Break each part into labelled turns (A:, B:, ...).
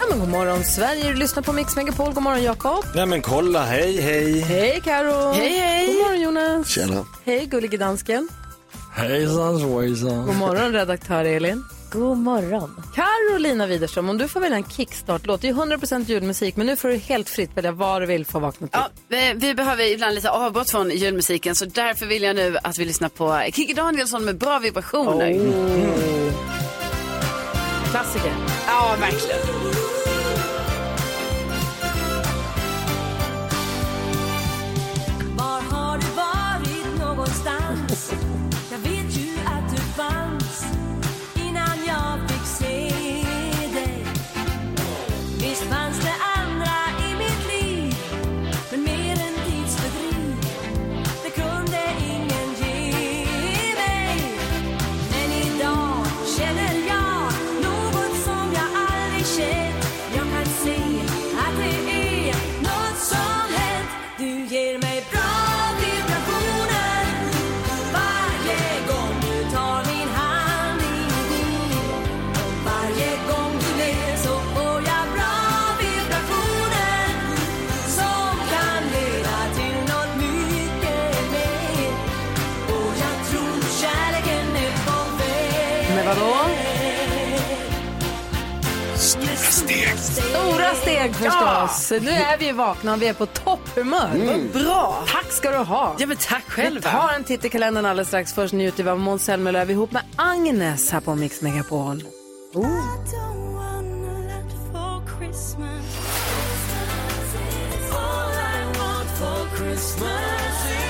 A: Ja, men god morgon Sverige, du lyssnar på Mix Megapol. God morgon Jakob.
B: Nej men kolla, hej hej.
A: Hej Karo.
C: Hej, hej.
A: God morgon Jonas.
D: Tjena.
A: Hej gullige dansken.
B: Hejsan svejsan.
A: God morgon redaktör Elin.
C: God morgon.
A: Carolina Widerström, om du får välja en kickstart-låt. Det är 100% julmusik, men nu får du helt fritt välja vad du vill få vakna till.
E: Ja, vi, vi behöver ibland lite avbrott från julmusiken så därför vill jag nu att vi lyssnar på Kikki Danielsson med bra vibrationer.
A: Oh, Klassiker.
E: Ja, verkligen.
F: Var har du varit någonstans? Jag vet ju att du fanns innan jag fick se dig. Visst fanns det andra i mitt liv, men mer än tidsfördriv. Det kunde ingen ge mig. Men idag känner jag något som jag aldrig känt. Jag kan se att det är något som hänt. Du ger mig bra vibrationer varje gång du tar min hand i din. Och varje gång du ler så får jag bra vibrationer som kan leda till något mycket mer. Och jag tror kärleken är på väg.
A: Men vadå?
F: Steg.
A: Stora steg förstås. Nu är vi vakna och vi är på topphumör.
E: Bra.
A: Mm. Tack ska du ha.
E: Ja men tack
A: Vi
E: själva.
A: tar en titt i kalendern alldeles strax. Först njuter vi av Måns Zelmerlöw ihop med Agnes här på Mix Megapol.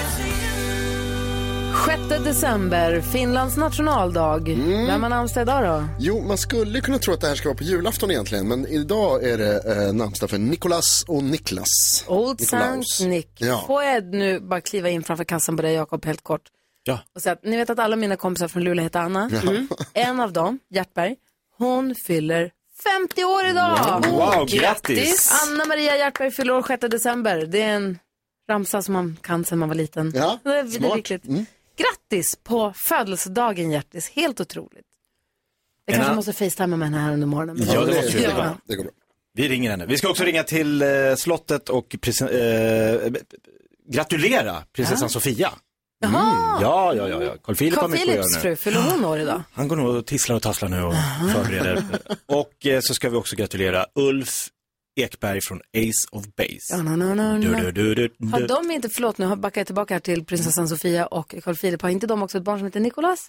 F: Christmas
A: 6 december, Finlands nationaldag. Vem har namnsdag idag då?
G: Jo, man skulle kunna tro att det här ska vara på julafton egentligen, men idag är det eh, namnsdag för Nikolas och Niklas.
A: Old
G: Nikolaus.
A: Sankt Nick.
G: Ja.
A: Får jag nu bara kliva in framför kassan på dig Jakob helt kort?
B: Ja.
A: Och säga att, ni vet att alla mina kompisar från Luleå heter Anna. Mm. En av dem, Hjärtberg, hon fyller 50 år idag.
B: Wow,
E: grattis.
B: grattis.
A: Anna Maria Hjärtberg fyller år 6 december. Det är en ramsa som man kan sedan man var liten.
G: Ja,
A: det är, det är
G: smart. Mm.
A: viktigt. Grattis på födelsedagen Hjärtis, helt otroligt. Jag
B: En
A: kanske
B: an-
A: måste facetima med henne här under morgonen.
B: Ja, det måste vi
A: Ja.
B: göra.
G: Det går bra.
B: Vi ringer henne. Vi ska också ringa till eh, slottet och presen- eh, gratulera prinsessan Sofia. Mm.
A: Jaha,
B: Ja, ja, ja. ja. Carl Philip har
A: Carl
B: mycket att
A: Philips
B: göra nu.
A: fru, fyller hon år idag?
B: Han går nog och tisslar och tasslar nu och förbereder. och eh, så ska vi också gratulera Ulf Ekberg från Ace of Base.
A: Ja, no, no, no,
B: Du,
A: no.
B: du, du, du,
A: Har
B: du.
A: de inte, förlåt nu backar jag tillbaka här till prinsessan Sofia och Carl Philip, har inte de också ett barn som heter Nicolas?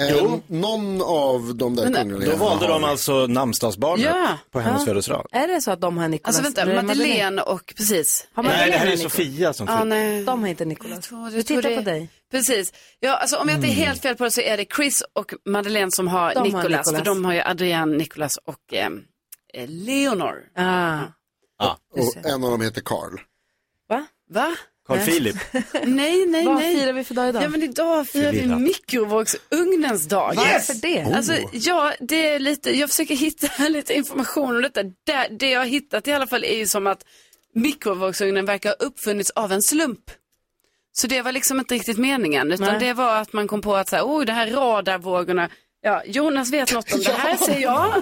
G: Eh,
B: Jo.
G: Någon av de där kungliga.
B: Då valde de alltså namnsdagsbarnet
E: Ja.
B: på hennes
A: Ja.
B: födelsedag.
A: Är det så att de har Nicolas?
E: Alltså vänta,
A: Eller är det
E: Madeleine och precis.
A: Har Madeleine
B: Nej, det här är
A: Nicolas?
B: Sofia som
E: Ja,
B: fyller.
E: nej.
A: De har inte Nicolas.
E: tror- jag
A: Vi
E: tror
A: tittar
E: det-
A: på dig.
E: Precis. Ja, alltså, om jag inte är helt fel på det så är det Chris och Madeleine som har
A: Mm. De har
E: Nicolas,
A: Nicolas.
E: För de har ju Adrian, Nicolas och ehm, eh, Leonor.
A: Ah.
G: Och en av dem heter Karl.
A: Va?
E: Va?
B: Carl Philip.
E: Nej, nej,
A: Vad
E: nej.
A: firar vi för dag idag?
E: Ja men idag firar vi
B: Förvirrat.
E: mikrovågsugnens dag.
A: Varför det?
E: Alltså, ja, det är lite, jag försöker hitta lite information om detta. Det, det jag har hittat i alla fall är ju som att mikrovågsugnen verkar ha uppfunnits av en slump. Så det var liksom inte riktigt meningen, utan
A: Nej.
E: det var att man kom på att så här, oh, det här radarvågorna, ja, Jonas vet något om det här, säger jag.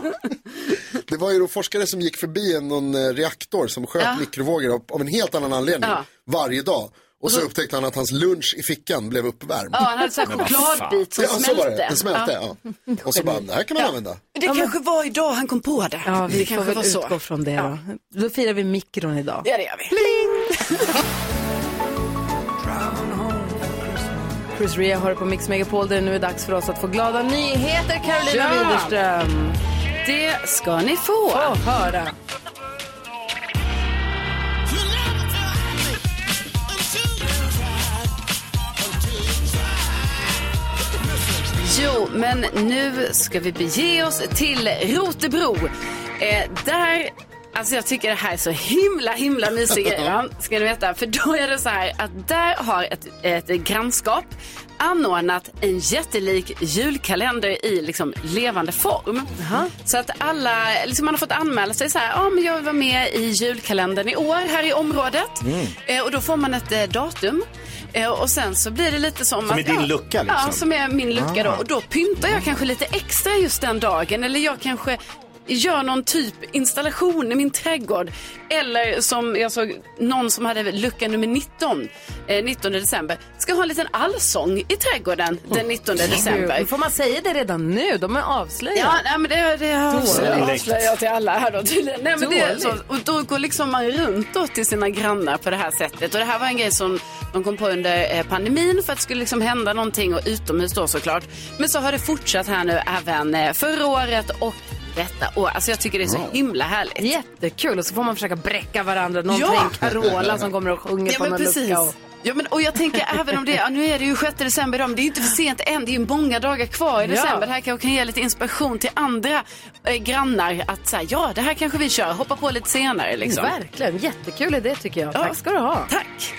G: Det var ju då forskare som gick förbi en någon eh, reaktor som sköt mikrovågor av, av en helt annan anledning
E: Ja.
G: varje dag. Och så upptäckte han att hans lunch i fickan blev uppvärmd.
E: Ja, han hade så här chokladbit som
G: Ja, så var
E: smälte.
G: det. Den smälte. Ja. Och så bara, det här kan man använda.
E: Det kanske var idag han kom på det.
A: Ja, vi
E: det
A: får
E: kanske
A: väl
E: var så.
A: utgå från det då. Då firar vi mikron idag.
E: Ja, det gör vi.
A: Chris Rea har det på Mix Megapol där det nu är dags för oss att få glada nyheter, Carolina
E: Ja.
A: Widerström.
E: Det ska ni få.
A: Få höra.
E: Jo, men nu ska vi bege oss till Rotebro. Eh, där, alltså jag tycker det här är så himla, himla mysig grej, va? ska ni veta. För då är det så här att där har ett, ett grannskap anordnat en jättelik julkalender i liksom levande form. Så att alla, liksom man har fått anmäla sig så här, ja men jag vill vara med i julkalendern i år här i området. Eh, och då får man ett eh, datum. Eh, och sen så blir det lite som,
B: Som
E: att...
B: i din
E: ja,
B: lucka,
E: Ja,
B: liksom.
E: som som är min lucka då. Och då pyntar jag kanske lite extra just den dagen. Eller jag kanske gör någon typ installation i min trädgård. Eller som jag såg någon som hade lucka nummer 19, eh, 19 december. Ska ha en liten allsång i trädgården den 19 december.
A: Får man säga det redan nu? De är avslöjade.
E: Ja, nej, men det, det
B: Dåligt.
E: avslöjar jag till alla här då tydligen. Nej, men det, är så,
A: Dåligt.
E: och då går liksom man runt då till sina grannar på det här sättet. Och det här var en grej som de kom på under eh, pandemin för att det skulle liksom hända någonting och utomhus då såklart. Men så har det fortsatt här nu även eh, förra året och detta år. Alltså jag tycker det är så himla härligt.
A: Jättekul. Och så får man försöka bräcka varandra. Någon
E: Ja.
A: tar in Carola som kommer och sjunger
E: Ja,
A: på
E: men
A: någon
E: precis.
A: lucka. Och...
E: Ja, men, och jag tänker även om det, ja, nu är det ju 6 december idag, men det är ju inte för sent än. Det är ju många dagar kvar i december. Det här kanske kan ge lite inspiration till andra eh, grannar att säga, ja, det här kanske vi kör, hoppa på lite senare liksom.
A: Verkligen. Jättekul idé tycker jag.
E: Ja.
A: Tack ska du ha.
E: Tack!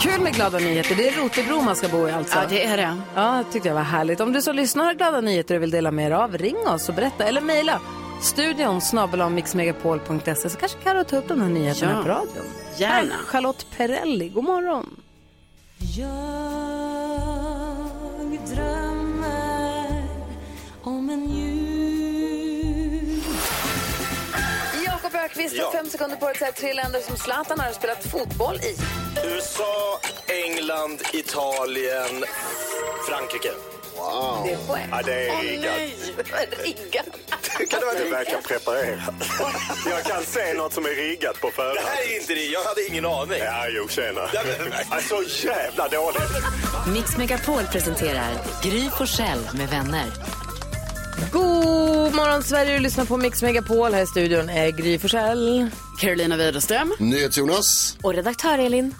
A: Kul med glada nyheter. Det är Rotebro man ska bo i alltså.
E: Ja, det är det.
A: Ja, tyckte jag var härligt. Om du som lyssnar har glada nyheter och vill dela med dig av, ring oss och berätta. Eller mejla studion snabel mixmegapol.se så kanske Carro tar upp de här nyheterna
E: Ja.
A: på radion.
E: Gärna.
A: Här är Charlotte Perrelli, god morgon.
F: Jag drömmer om en jul
A: Jakob Ökvist har fem sekunder på sig att tre länder som Zlatan har spelat fotboll i.
B: USA, England, Italien, Frankrike.
A: Det är poäng.
B: Ja, det är riggat. Kan det vara det?
H: verkar preparerad. Jag kan se något som är riggat på
B: Det
H: förhand.
B: här är inte det. Jag hade ingen aning.
H: Ja, jo, tjena.
B: Ja, men-
H: Ja, Så jävla dåligt.
C: Mix Megapol presenterar Gry Forssell med vänner.
A: God morgon Sverige, du lyssnar på Mix Megapol. Här i studion är Gry Forssell.
E: Carolina Widerström.
G: NyhetsJonas.
C: Och redaktör Elin.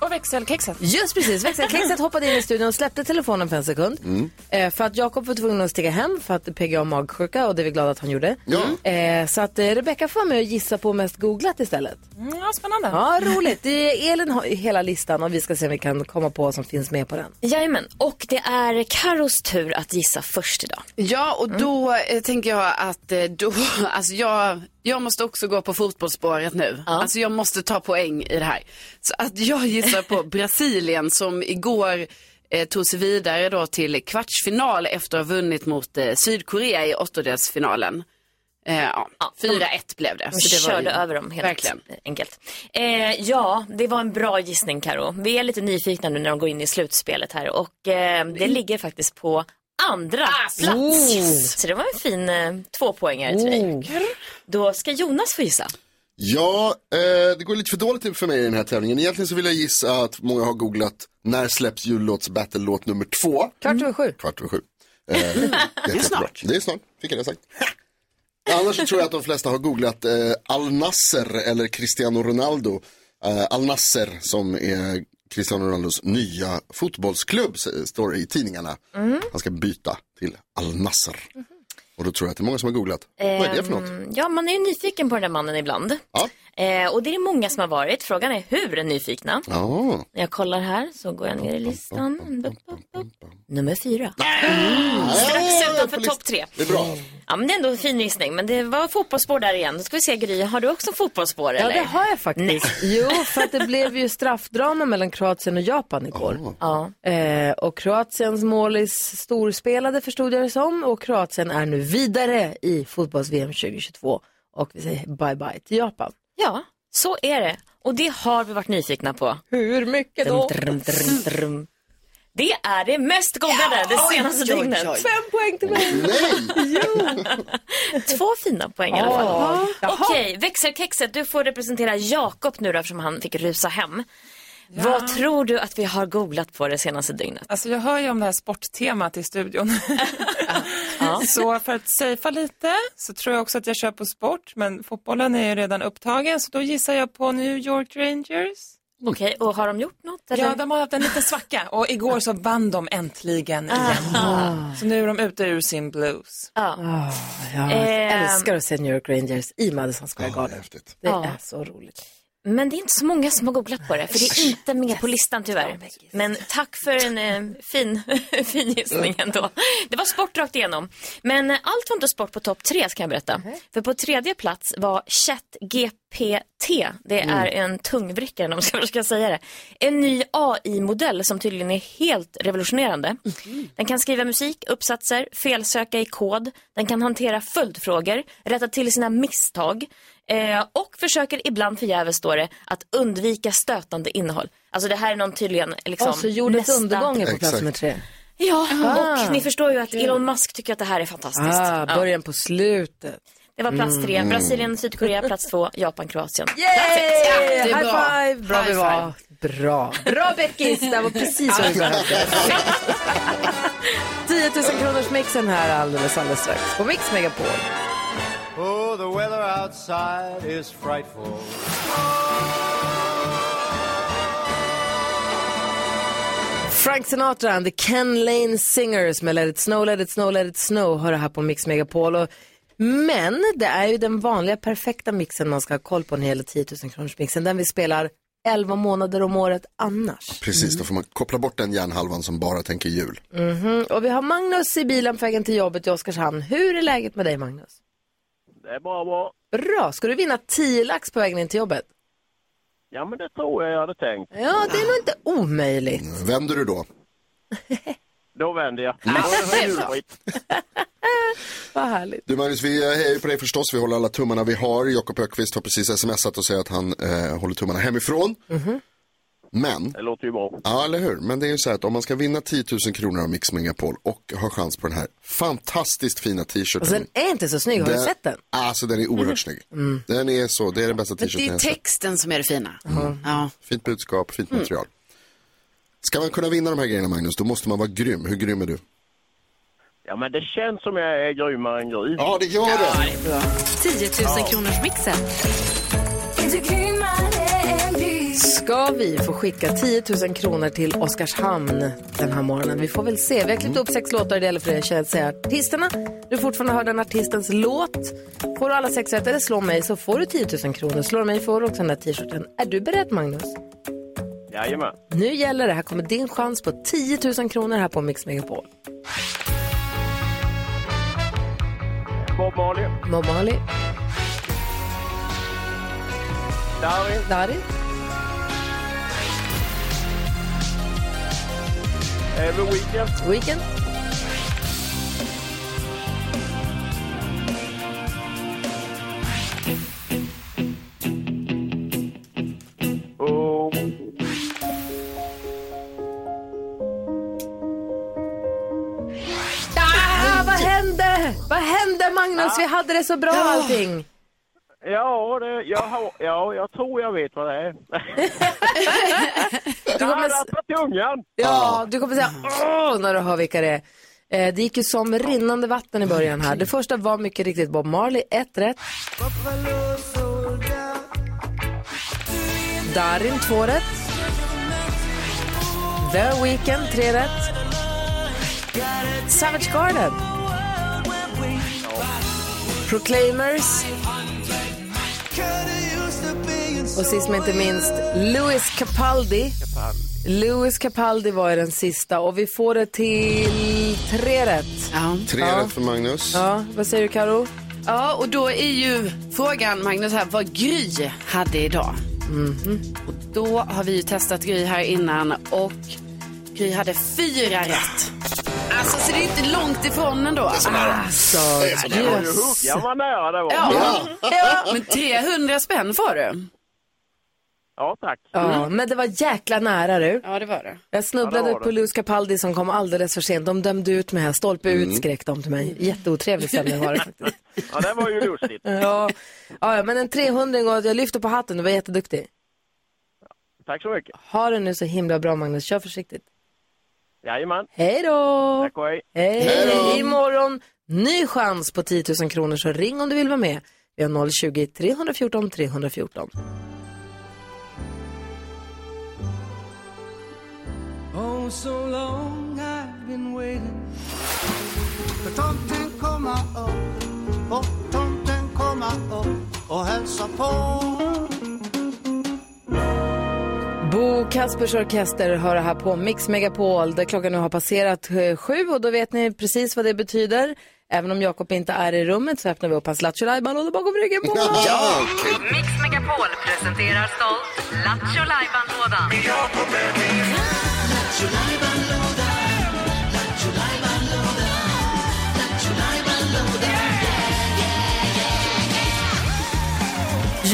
E: Och växelkexet.
A: Just precis, växelkexet hoppade in i studion och släppte telefonen för en sekund.
G: Mm.
A: Eh, för att Jakob var tvungen att stiga hem för att PGA har magsjuka och det är vi glada att han gjorde. Eh, så att eh, Rebecka får vara med och gissa på mest googlat istället.
I: Ja, spännande.
A: Ja, roligt. Det är Elin har ju hela listan och vi ska se om vi kan komma på vad som finns med på den.
I: Jajamän, och det är Karos tur att gissa först idag.
E: Ja,
I: Mm.
E: och då eh, tänker jag att eh, då, alltså jag, jag måste också gå på fotbollsspåret nu. Alltså jag måste ta poäng i det här. Så att jag gissar på Brasilien som igår eh, tog sig vidare då till kvartsfinal efter att ha vunnit mot eh, Sydkorea i åttondelsfinalen. Eh, ja, 4-1 blev det.
I: De
E: Så det var
I: körde
E: ju-
I: över dem helt
E: Verkligen.
I: enkelt. Eh, ja, det var en bra gissning Karo. Vi är lite nyfikna nu när de går in i slutspelet här och eh,
A: Mm.
I: det ligger faktiskt på
A: Ah,
I: andra plats. Så det var en fin eh, tvåpoängare till
A: Oh.
I: dig. Då ska Jonas få gissa.
G: Ja, eh, det går lite för dåligt till för mig i den här tävlingen. Egentligen så vill jag gissa att många har googlat när släpps jullåts-battle-låt nummer två?
A: Kvart över sju.
G: Kvart över sju. Eh, det, är snart. Det är snart, fick jag det sagt. Annars så tror jag att de flesta har googlat eh, Al Nasser eller Cristiano Ronaldo. Eh, Al Nasser som är Cristiano Ronaldos nya fotbollsklubb s- står det i tidningarna. Han ska byta till Al Nasser. Och då tror jag att det är många som har googlat. Vad är det för något?
I: Ehm, Ja, man är ju nyfiken på den där mannen ibland.
G: Ja.
I: Eh, och det är många som har varit. Frågan är hur nyfikna.
G: Ja.
I: När jag kollar här så går jag ner i listan. Bup, bup, bup. Nummer fyra.
G: Ja,
I: Strax
G: jag får
I: utanför
G: list-
I: topp tre.
G: Det är bra.
I: Ja, men det är ändå en fin gissning. Men det var fotbollsspår där igen. Då ska vi se, Gry, har du också fotbollsspår
A: Ja,
I: eller?
A: det har jag faktiskt. Jo, för att det blev ju straffdrama mellan Kroatien och Japan igår.
I: Ja.
A: Eh, och Kroatiens målis storspelade förstod jag det som och Kroatien är nu vidare i fotbolls-VM 2022 och vi säger bye bye till Japan.
I: ja, så är det. Och det har vi varit nyfikna på.
A: Hur mycket
I: Drum, drum, drum, drum. Det är det mest googlade det senaste dygnet.
A: Fem poäng till mig.
I: Två fina poäng i alla fall.
A: Ja.
I: Okej, växelkexet, du får representera Jakob nu då, eftersom han fick rusa hem. Vad tror du att vi har googlat på det senaste dygnet?
H: Alltså, jag hör ju om det här sporttemat i studion.
I: Ja.
H: så för att safea lite så tror jag också att jag kör på sport. Men fotbollen är ju redan upptagen så då gissar jag på New York Rangers.
I: Okej, och har de gjort något? Eller?
J: Ja, de har haft en liten svacka och igår så vann de äntligen igen.
A: Ah.
J: Så nu är de ute ur sin blues.
A: Ah, jag
I: Eh.
A: älskar att se New York Rangers i Madison Square Garden. det
I: Ja.
A: är så roligt.
I: Men det är inte så många som har googlat på det, för det är inte med på listan tyvärr. Men tack för en eh, fin, fin gissning ändå. Det var sport rakt igenom. Men eh, allt var inte sport på topp tre, ska jag berätta. För på tredje plats var ChatGPT. Det är en tungvrickare, om jag ska försöka säga det. En ny AI-modell som tydligen är helt revolutionerande. Den kan skriva musik, uppsatser, felsöka i kod. Den kan hantera följdfrågor, rätta till sina misstag. Eh, och försöker ibland förgäves, står det, att undvika stötande innehåll. Alltså det här är någon tydligen liksom
A: Och så Alltså, jordens undergång är på plats
I: Exakt.
A: nummer tre.
I: Ja,
A: Ah.
I: och ni förstår ju att
A: Kul.
I: Elon Musk tycker att det här är fantastiskt.
A: Ah,
I: Ja.
A: början på slutet.
I: Det var plats tre.
A: Mm.
I: Brasilien, Sydkorea, plats två. Japan, Kroatien.
A: Yay!
I: Det är
A: High
I: bra.
A: five! Bra
I: High
A: vi var. Bra. Bra Beckis, det var precis vad vi behövde. 10 000 kronors mixen här alldeles, alldeles strax på Mix Megapol.
K: Oh, the weather outside is frightful.
A: Frank Sinatra and the Ken Lane Singers med Let it snow, let it snow, let it snow hör det här på Mix Megapol. Och, men det är ju den vanliga perfekta mixen man ska ha koll på när det gäller 10 000 kronors mixen. Den vi spelar 11 månader om året annars.
G: Precis, då får man koppla bort den hjärnhalvan som bara tänker jul.
A: Mhm. Och vi har Magnus i bilen på vägen till jobbet i Oskarshamn. Hur är läget med dig Magnus?
L: Det är bara bra.
A: Bra, ska du vinna 10 lax på vägen in till jobbet?
L: Ja, men det tror jag jag hade tänkt.
A: Ja, det är nog inte omöjligt.
G: Mm. Vänder du då? Mm.
L: Då vänder jag. Då är det julskit.
A: Vad härligt.
G: Du Magnus, vi eh, hejar ju på dig förstås. Vi håller alla tummarna vi har. Jakob Ökvist har precis smsat och säger att han eh, håller tummarna hemifrån. Men. Det
L: Mhm. låter ju bra.
G: Ja, eller hur. Men det är ju så här att om man ska vinna 10 000 kronor av Mix Megapol och ha chans på den här fantastiskt fina t-shirten.
L: Alltså-
A: Och den är inte så snygg, har du sett den?
G: Alltså den är oerhört
E: Mhm.
G: snygg.
L: Mm.
G: Den är så, det är den bästa
E: Men
G: t-shirten
E: det
G: jag
E: är Mm.
G: har sett.
E: texten som är det fina. Ja.
G: Fint budskap, fint
E: Mm.
G: material. Ska man kunna vinna de här grejerna Magnus, då måste man vara grym. Hur grym är du?
L: Ja, men det känns som jag är grymmare än grym.
G: Ja, det gör det.
C: 10 000 kronors mixen.
A: Ska vi få skicka 10 000 kronor till Oskarshamn den här morgonen? Vi får väl se. Vi har klippt upp sex låtar, det gäller för dig att säga artisterna. Du fortfarande hör den artistens låt. Får du alla sex rätt eller slår mig så får du 10 000 kronor. Slår du mig får du också den där t-shirten. Är du beredd Magnus?
L: Jajamän.
A: Nu gäller det. Här kommer din chans på 10 000 kronor här på Mix Megapol.
L: Bob Marley,
A: Bob Marley,
L: Darin,
A: Darin,
L: eh, The Weeknd,
A: Weekend,
L: och...
A: Ah, vad hände? Vad hände Magnus? Vi hade det så bra allting.
L: Ja, det, jag, har, ja, jag tror jag vet vad det är.
A: Du kommer...
L: Tappat tungan!
A: Ja, du kommer säga åh när du hör vilka det är. Eh, Det gick ju som rinnande vatten i början här. Det första var mycket riktigt Bob Marley, ett rätt. Darin, två rätt. The Weeknd, tre rätt. Savage Garden. Proclaimers. Och sist men inte minst, Louis Capaldi. Louis Capaldi var ju den sista och vi får det till tre rätt.
G: Tre rätt för Magnus.
A: Ja, vad säger du Karo?
E: Ja, och då är ju frågan, Magnus, här, vad Gry hade idag. Mhm. Och då har vi ju testat Gry här innan och Gry hade fyra rätt. Alltså, så det är inte långt ifrån ändå.
L: Det är så nära.
E: Alltså,
L: Det är så nära.
E: jösses.
L: Jag var nära det var.
E: Ja. ja, men 300 spänn får du.
L: Ja, tack.
A: Ja, men det var jäkla nära du.
E: Ja, det var det.
A: Jag snubblade
E: Ja, det var det.
A: på Louis Capaldi som kom alldeles för sent. De dömde ut mig här. Stolpe
E: Mm.
A: ut skrek de till mig. Jätteotrevlig stämning var det faktiskt.
L: Ja, det var ju lustigt.
A: Ja, ja, ja, men en 300 och jag lyfter på hatten. Du var jätteduktig.
L: Tack så mycket.
A: Ha det nu så himla bra Magnus. Kör försiktigt.
L: Jajamän.
A: Hej då!
L: Tack och hej.
A: Hej!
L: Hej då!
A: Imorgon, ny chans på 10 000 kronor. Så ring om du vill vara med. Vi har 020-314 314.
M: oh so long I've been waiting. För tomten komma upp, och tomten komma upp och hälsa på.
A: Bo Kaspers Orkester hör här på Mix Megapol där klockan nu har passerat eh, sju och då vet ni precis vad det betyder. Även om Jakob inte är i rummet så öppnar vi upp hans Lattjo Lajban och håller bakom ryggen på honom.
F: Mix Megapol presenterar stolt Lattjo Lajban-lådan.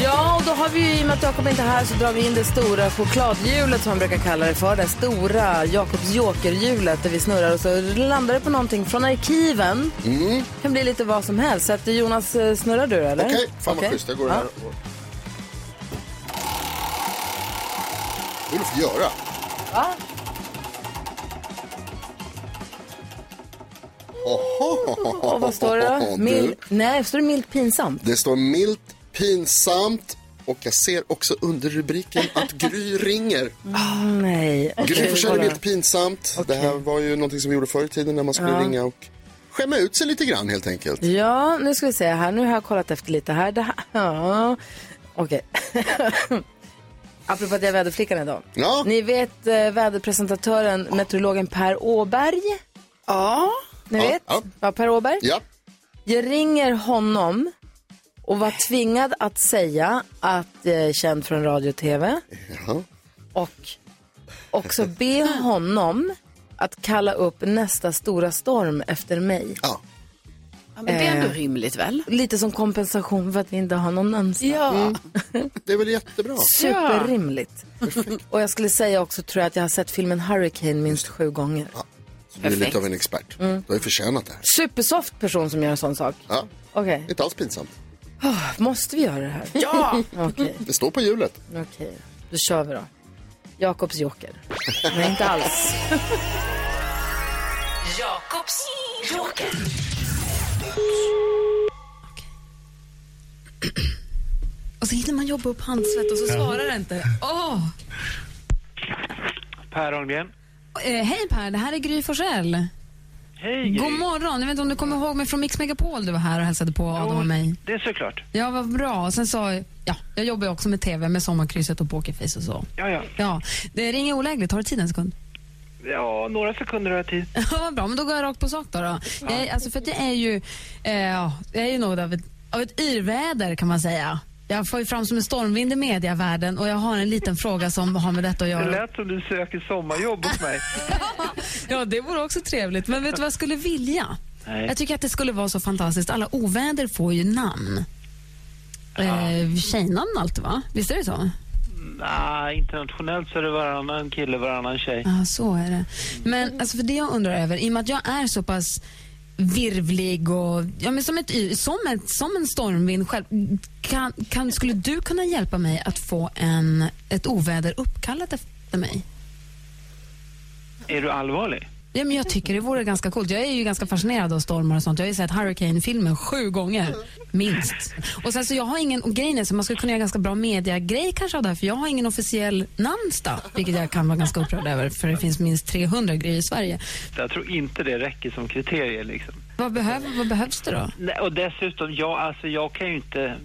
A: Ja, och då har vi ju, i och med att Jakob inte är här så drar vi in det stora chokladhjulet som man brukar kalla det för. Det stora Jakobs jokerhjulet där vi snurrar och så landar det på någonting från arkiven.
G: Mm.
A: kan bli lite vad som helst. Så att Jonas, eh, snurrar du eller?
G: Okej, fan vad schysst. Jag går
A: Ja.
G: här och... Vad vill du få göra?
A: Va?
G: Ohohohoho.
A: Och vad står det då?
G: Du.
A: Mild... Nej, står det milt pinsamt?
G: Det står milt, pinsamt och jag ser också under rubriken att Gry ringer.
A: Ah, nej.
G: Gry
A: Okej,
G: Forssell är
A: kolla.
G: milt pinsamt. Det här var ju någonting som vi gjorde förr i tiden när man skulle
A: Ja.
G: ringa och skämma ut sig lite grann helt enkelt.
A: Ja, nu ska vi se här. Nu har jag kollat efter lite här. Det här... Ja. Okej. Apropå att jag är väderflickan idag.
G: Ja.
A: Ni vet eh, väderpresentatören, meteorologen Per Åberg? Ja. Ni
N: Ja,
A: vet?
N: ja.
A: Ja, Per Åberg?
G: Ja.
A: Jag ringer honom och var tvingad att säga att jag är känd från radio och tv.
G: Jaha.
A: Och också be honom att kalla upp nästa stora storm efter mig.
G: Ja.
O: Ja, men det är ändå
A: Eh,
O: rimligt väl?
A: Lite som kompensation för att vi inte har någon namnsdag. Mm.
O: Ja.
G: Det är väl jättebra.
A: Superrimligt. Och jag skulle säga också tror jag att jag har sett filmen Hurricane minst sju gånger.
G: Så du är lite
A: Perfekt.
G: av en expert.
A: Mm.
G: Du har ju förtjänat det här.
A: Supersoft person som gör en sån sak.
G: Ja.
A: Okej.
G: Inte alls pinsamt.
A: Åh, måste vi göra det här?
G: Ja!
A: Okej,
G: Det står på hjulet.
A: okej. Då kör vi då. Jakobs joker. Nej, inte alls.
F: Jakobs joker.
E: Och så hinner man jobba upp handsvett och så
P: Ja.
E: svarar det inte. Åh!
P: Per Holmgren.
E: Eh, hej Per, det här är Gry Forssell.
P: Hej Gry.
E: God morgon. Jag vet inte om du kommer ihåg mig från Mix Megapol du var här och hälsade på Adam och mig.
P: Det är såklart.
E: Ja, vad bra. Och Sen sa jag, ja, jag jobbar ju också med TV med Sommarkrysset och Pokerface och så.
P: Ja, ja.
E: Ja, det ringer olägligt. Har du tid en sekund?
P: Ja, några sekunder har jag tid.
E: Ja, bra, men då går jag rakt på sak då. då. Jag, är- alltså, för att jag är ju, eh, ja, jag är ju något av ett, av ett yrväder kan man säga. Jag får ju fram som en stormvind i medievärlden och jag har en liten fråga som har med detta att
P: Det
E: göra.
P: lät som du söker sommarjobb hos mig.
E: Ja, det vore också trevligt. Men vet du vad jag skulle vilja?
P: Nej.
E: Jag tycker att det skulle vara så fantastiskt. Alla oväder får ju namn. Eh, tjejnamn alltid va? Visst är det så?
P: Nej, internationellt så är det varannan kille, varannan tjej.
E: Ja, så är det. Men alltså, för det jag undrar över, i och med att jag är så pass virvlig och ja, men som, ett, y- som, ett, som en stormvind själv. Kan, kan, skulle du kunna hjälpa mig att få en, ett oväder uppkallat efter mig?
P: Är du allvarlig?
E: Ja, men jag tycker det vore ganska coolt. Jag är ju ganska fascinerad av stormar och sånt. Jag har ju sett Hurricane-filmen sju gånger, minst. Och sen så jag har ingen, och grejen är så man skulle kunna göra ganska bra mediagrej kanske av det här, för jag har ingen officiell namnsdag, vilket jag kan vara ganska upprörd över, för det finns minst 300 grejer i Sverige.
P: Jag tror inte det räcker som kriterier liksom.
E: Vad, behöv, vad behövs det då?
P: Nej, och dessutom, jag, alltså, jag kan ju inte...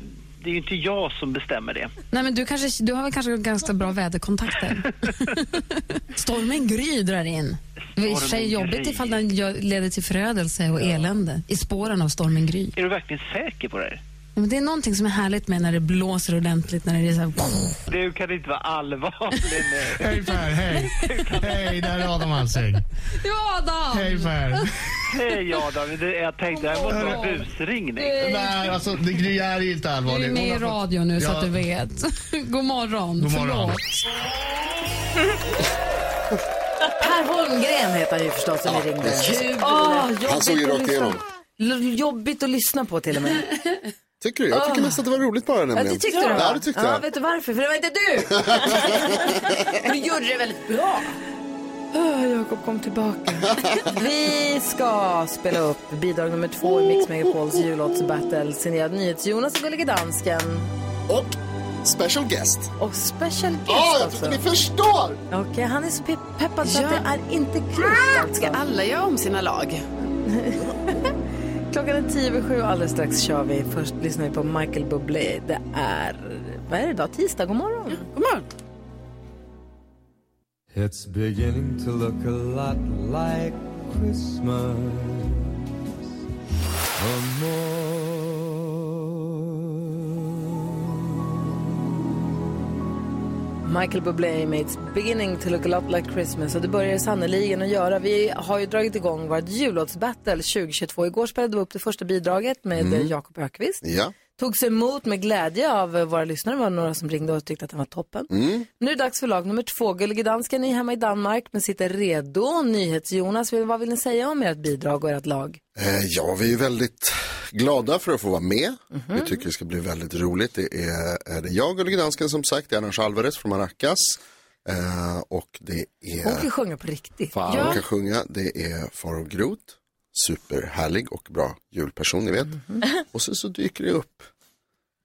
P: Det är ju inte jag som bestämmer det.
E: Nej, men du, kanske, du har väl kanske ganska bra väderkontakter? Stormen Gry drar in. Det är i och för sig
P: Stormen Gry.
E: jobbigt ifall den gör- leder till förödelse och elände i spåren av stormen Gry.
P: Är du verkligen säker på det här?
E: Ja, Men det är någonting som är härligt med när det blåser ordentligt, när det är så här...
P: Du kan inte vara allvarlig nu.
Q: Hej Per, hej! Hej, där är Adam Alsing.
E: Ja, Adam!
Q: Hej Per!
P: Hej Adam, Det- jag tänkte det här måste vara en busringning.
Q: Nej, alltså det Gry är ju inte
E: Du
Q: allvarlig.
E: är med
Q: Hon
E: i
Q: har fått-
E: radio nu så
Q: Ja,
E: att du vet. God morgon.
Q: God morgon.
A: Per Holmgren heter han ju förstås som vi ringde.
G: precis.
A: Kul!
G: Han
A: Ah, jobbigt
G: såg ju
A: att
G: rakt
A: lyssna-
G: igenom.
A: L- Jobbigt att lyssna på till och med.
G: Tycker du? Jag tycker
A: Ah.
G: mest att det var roligt bara
A: Ja,
G: nämligen.
A: det tyckte du va?
G: Ja, det tyckte
A: ja,
G: jag.
A: Vet du varför? För det var inte du! du gjorde det väldigt bra. Ah, Jakob kom tillbaka. Vi ska spela upp bidrag nummer två i Mix Megapols jullåtsbattle signerad NyhetsJonas och Gullige Dansken.
G: Och Special guest.
A: Och special guest
G: Ja, Ah, jag
A: också.
G: tror inte ni förstår!
A: Okej, eh, han är så pe- peppad så
E: Ja.
A: att det är inte klokt alltså.
E: Ska alla göra om sina lag?
A: Klockan är tio över sju och alldeles strax kör vi. Först lyssnar vi på Michael Bublé. Det är, vad är det idag? Tisdag? God morgon.
E: God morgon.
R: It's beginning to look a lot like Christmas. A
A: Michael Bublé med It's beginning to look a lot like Christmas och det börjar det sannoliken att göra. Vi har ju dragit igång vårt jullåtsbattle 2022. Igår spelade vi upp det första bidraget med
G: Mm.
A: eh, Jakob Ökvist.
G: Ja.
A: Togs emot med glädje av eh, våra lyssnare. Det var några som ringde och tyckte att den var toppen.
G: Mm.
A: Nu är det dags för lag nummer två. Gullige dansken är hemma i Danmark men sitter redo. NyhetsJonas, vill- vad vill ni säga om ert bidrag och ert lag?
G: Eh, Ja, vi är väldigt glada för att få vara med.
E: Mhm.
G: Vi tycker det ska bli väldigt roligt. Det är, är det jag, Gullige Dansken, som sagt, det är Anders Alvarez från Maracas. Eh, och det
A: Hon kan
G: är...
A: ju sjunga på riktigt.
G: Fan, hon kan sjunga. Det är Faro Groth, superhärlig och bra julperson, ni vet. Och sen så dyker det upp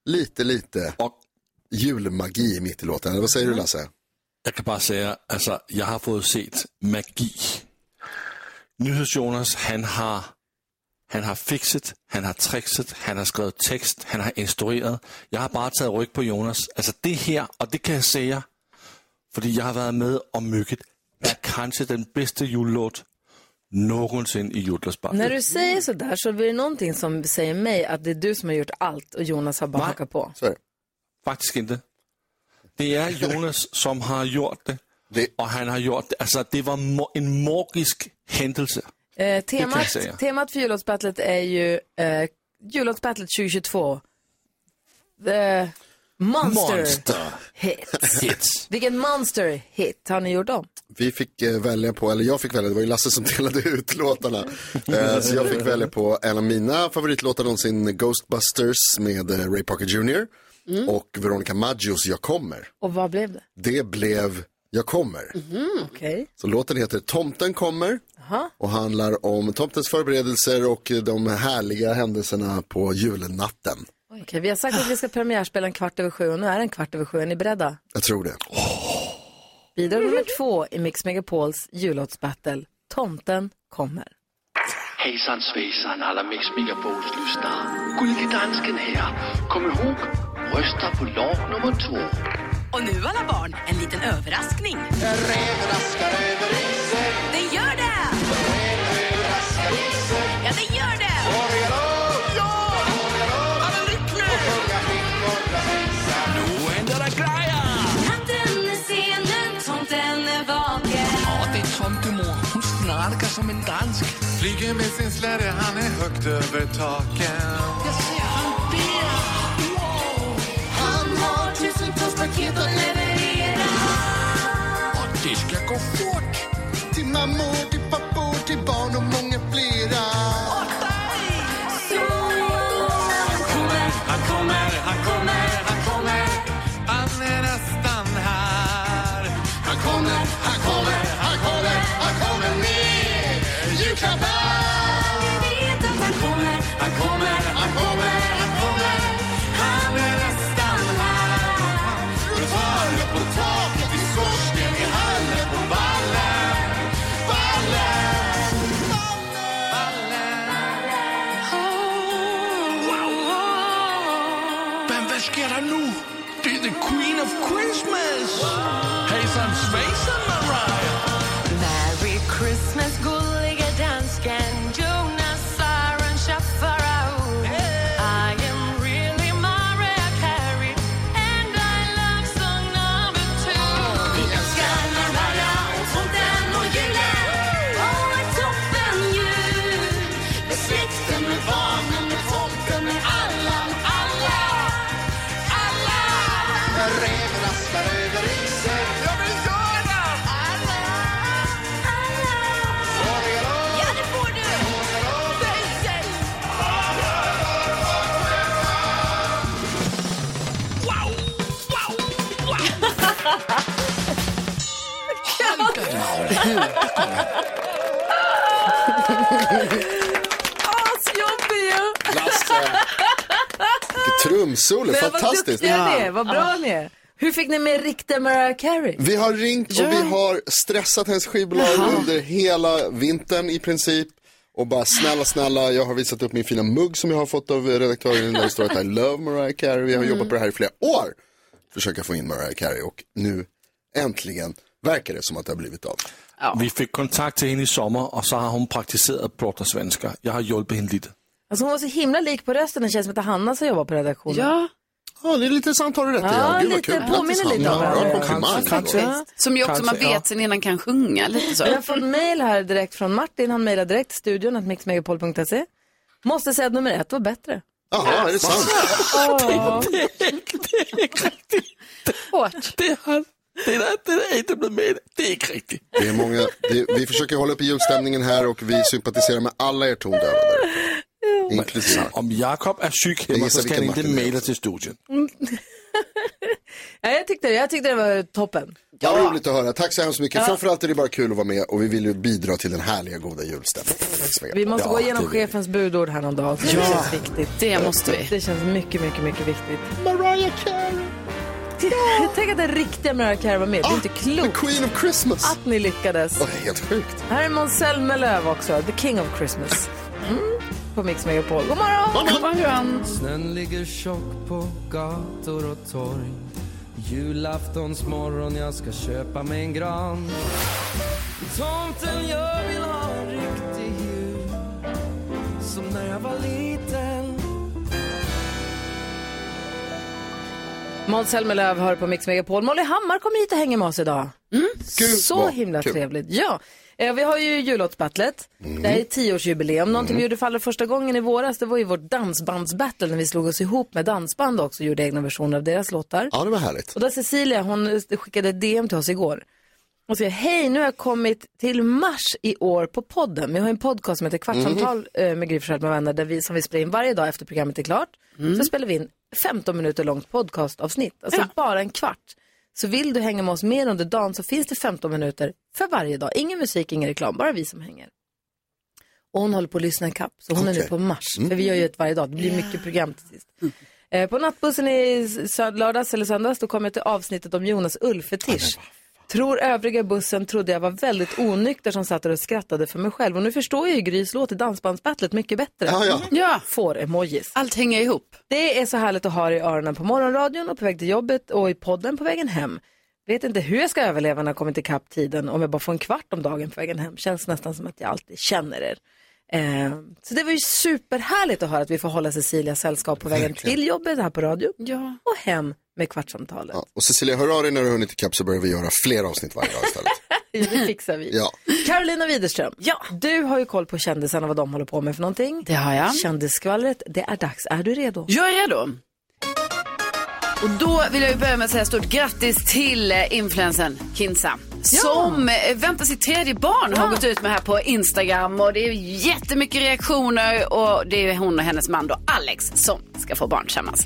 G: lite, lite julmagi mitt i låten. Eller vad säger du, Lasse?
S: Jeg kan bare sige, altså, jeg har fået set magi. Nyheds Jonas, han har, han har fikset, han har trickset, han har skrevet tekst, han har instrueret. Jeg har bare taget ryg på Jonas. Altså det her, og det kan jeg sige jer, fordi jeg har været med om mygget, er kanskje den bedste julelåt nogensinde i julelåtsbakken.
A: När du säger sådär så blir det någonting som säger mig att det är du som har gjort allt och Jonas har bara hakat på.
S: Faktisk ikke. Det er Jonas, som har gjort det, og han har gjort det. Altså, det var mo- en magisk hændelse.
A: Eh,
S: Det kan jag
A: temat,
S: säga.
A: temat för jullåtsbattlet är ju eh, jullåtsbattlet 2022. The monster, hit.
S: Hits.
A: Vilken monster hit har ni gjort om?
G: Vi fick eh, välja på, eller jag fick välja, det var ju Lasse som delade ut låtarna. Eh, så jag fick välja på en av mina favoritlåtar någonsin, Ghostbusters med eh, Ray Parker Jr. Och Veronica Maggios Jag kommer.
A: Och vad blev det?
G: Det blev Jag kommer.
A: Mm, Okej.
G: Så låten heter Tomten kommer och handlar om tomtens förberedelser och de härliga händelserna på julnatten.
A: Okej, vi har sagt att vi ska premiärspela en kvart över sju och nu är den kvart över sju. Är ni beredda?
G: Jag tror det.
A: Bidrag nummer två i Mix Megapols jullåtsbattle. Tomten kommer.
M: Hejsan svejsan alla Mix Megapols lyssnare. Gullige dansken här. Kom ihåg, rösta på lag nummer två.
C: Och nu alla barn, en liten överraskning. Det gör det! Ja, det gör det! Ja! Alla
M: Nu händer det grejer!
F: Natten är sen, men tomten är vaken.
M: Ja, det är tomtemor. Hon snarkar som en dansk.
T: Flyger med sin släde, han är högt över taken.
M: Jag ser han ber. Wow!
F: Han har tusentals paket att leverera.
T: Och det ska gå fort Till mammor, till pappor, till barn och många flera
M: Han kommer, han kommer, han kommer. Han är nästan här. Han kommer, han kommer, han kommer, han kommer med julklappar. Vi vet att han kommer, han kommer, han kommer, han kommer. Han är nästan här. Runt hörnet på taket, i skorsten, i hallen, på ballen. Ballen, ballen. Wow, wow. Men vad sker det nu? Det är the queen of Christmas! Hejsan svejsan Mariah!
F: Merry Christmas, gulliga dansken. Jonas Arantxafarao. I am really Mariah Carey, and I love song number two. Vi älskar Mariah och tomten och julen. Åh, ett toppen jul. Med släkten, med barnen, med tomten, med alla, med alla. Alla!
T: Räven rasslar över isen Ja, men gör det! Alla, alla Får jag lov? Ja, det får du! Får jag lov? Säg,
A: Asjobbig ju!
G: Lasse! Trumsolo,
A: Men Vad
G: fantastiskt.
A: duktiga ni är, vad bra ni är. Hur fick ni med riktiga Mariah Carey?
G: Vi har ringt och vi har stressat hennes skivbolag under hela vintern i princip. Och bara snälla, snälla, jag har visat upp min fina mugg som jag har fått av redaktören där det står att I love Mariah Carey. Vi har jobbat på det här i flera år. Försöka få in Mariah Carey och nu äntligen verkar det som att det har blivit av.
S: Vi fick kontakt till henne i sommar och så har hon praktiserat prata svenska. Jag har hjälpt henne lite.
A: Alltså hon var så himla lik på rösten, det känns som att det är Hanna som jobbar på redaktionen.
E: Ja.
G: Ja, det är lite sant, har du rätt
A: ja,
G: Gud, vad
A: lite,
G: kul. Grattis,
A: påminner lite
G: Hanna.
A: om
G: Bra
A: varandra.
G: komplimang.
E: Som ju också man
A: Kanske,
E: vet
A: ja.
E: sen innan kan sjunga lite så.
A: Jag har fått mail här direkt från Martin, han mejlade direkt studion att mixmegapol.se. Måste säga att nummer ett var bättre.
G: Jaha, är det sant?
A: Åh.
E: Hårt.
S: Det är, det är, det är inte blivit med. Det är inte riktigt.
G: Det är många, det, vi försöker hålla uppe julstämningen här och vi sympatiserar med alla er tondöva där ute. Inklusive.
S: Om Jakob är sjuk
G: Jag
S: hemma
G: gissar
S: så ska han
G: vilken
S: inte
G: Martin det är
S: mejla till studion.
A: Ja, jag, tyckte, jag tyckte det var toppen.
G: Ja, roligt att höra. Tack så hemskt mycket.
A: Ja.
G: Framförallt är det bara kul att vara med och vi vill ju bidra till den härliga goda julstämningen.
A: Vi måste
G: Ja,
A: gå igenom
G: det vill vi.
A: chefens budord här någon dag. Det
G: Ja.
A: känns viktigt.
E: Det måste vi.
A: Det känns mycket, mycket, mycket viktigt.
G: Mariah Carey.
A: Tänk att den riktiga Mariah Carey var med. Det är inte
G: Ah,
A: klokt.
G: The Queen of Christmas.
A: Att ni lyckades.
G: Det är helt sjukt.
A: Här är Måns Zelmerlöw också, The King of Christmas. Mm. På Mix Megapol. God morgon!
E: God morgon!
R: Snön ligger tjock på gator och torg Julaftonsmorgon jag ska köpa mig en gran Tomten jag vill ha en riktig jul Som när jag var liten
A: Måns Zelmerlöw hör på Mix Megapol. Molly Hammar kommer hit och hänger med oss idag. Mm.
I: Gud,
A: Så
I: vad
A: himla
I: kul. Mm.
A: trevligt. Ja, eh, vi har ju jullåtsbattlet. Det här är tioårsjubileum. Någonting vi gjorde för allra första gången i våras, det var ju vårt dansbandsbattle när vi slog oss ihop med dansband också och gjorde egna versioner av deras låtar.
G: Ja, det var härligt.
A: Och där Cecilia, hon skickade ett DM till oss igår. Hon säger, hej, nu har jag kommit till mars i år på podden. Vi har en podcast som heter Kvartsamtal eh, med Gry Forssell med vänner, där vi, som vi spelar in varje dag efter programmet är klart. Så spelar vi in 15 minuter långt podcastavsnitt, alltså bara en kvart. Så vill du hänga med oss mer under dagen så finns det 15 minuter för varje dag. Ingen musik, ingen reklam, bara vi som hänger. Och hon håller på att lyssna ikapp, så hon är nu
I: Okej.
A: på mars. För
I: Mm.
A: vi gör ju ett varje dag, det blir mycket program till sist. Eh, På nattbussen i sö- lördags eller söndags, då kom jag till avsnittet om Jonas Ulfetisch. Tror övriga bussen trodde jag var väldigt onykter som satt där och skrattade för mig själv. Och nu förstår jag ju Grys låt i Dansbandsbattlet mycket bättre. Mm.
E: Ja, ja.
A: Får-emojis.
E: Allt hänger ihop.
A: Det är så härligt att ha det i öronen på morgonradion och på väg till jobbet och i podden på vägen hem. Vet inte hur jag ska överleva när jag kommit ikapp tiden om jag bara får en kvart om dagen på vägen hem. Känns nästan som att jag alltid känner er. Eh, så det var ju superhärligt att höra att vi får hålla Cecilia sällskap på vägen
G: Verkligen.
A: till jobbet här på radio
E: ja.
A: och hem med kvartsamtalet.
G: Och Cecilia, hör av dig när du har hunnit ikapp så börjar vi göra fler avsnitt varje dag istället.
A: Det fixar vi.
G: Ja.
A: Carolina Widerström, ja. du har ju koll på kändisarna och vad de håller på med för någonting.
E: Det har jag.
A: Kändisskvallret, det är dags. Är du redo?
E: Jag är redo. Och då vill jag ju börja med att säga stort grattis till eh, influensen Kinsa. Som eh, väntar sitt tredje barn har gått ut med här på Instagram och det är ju jättemycket reaktioner och det är ju hon och hennes man då Alex som ska få barn tillsammans.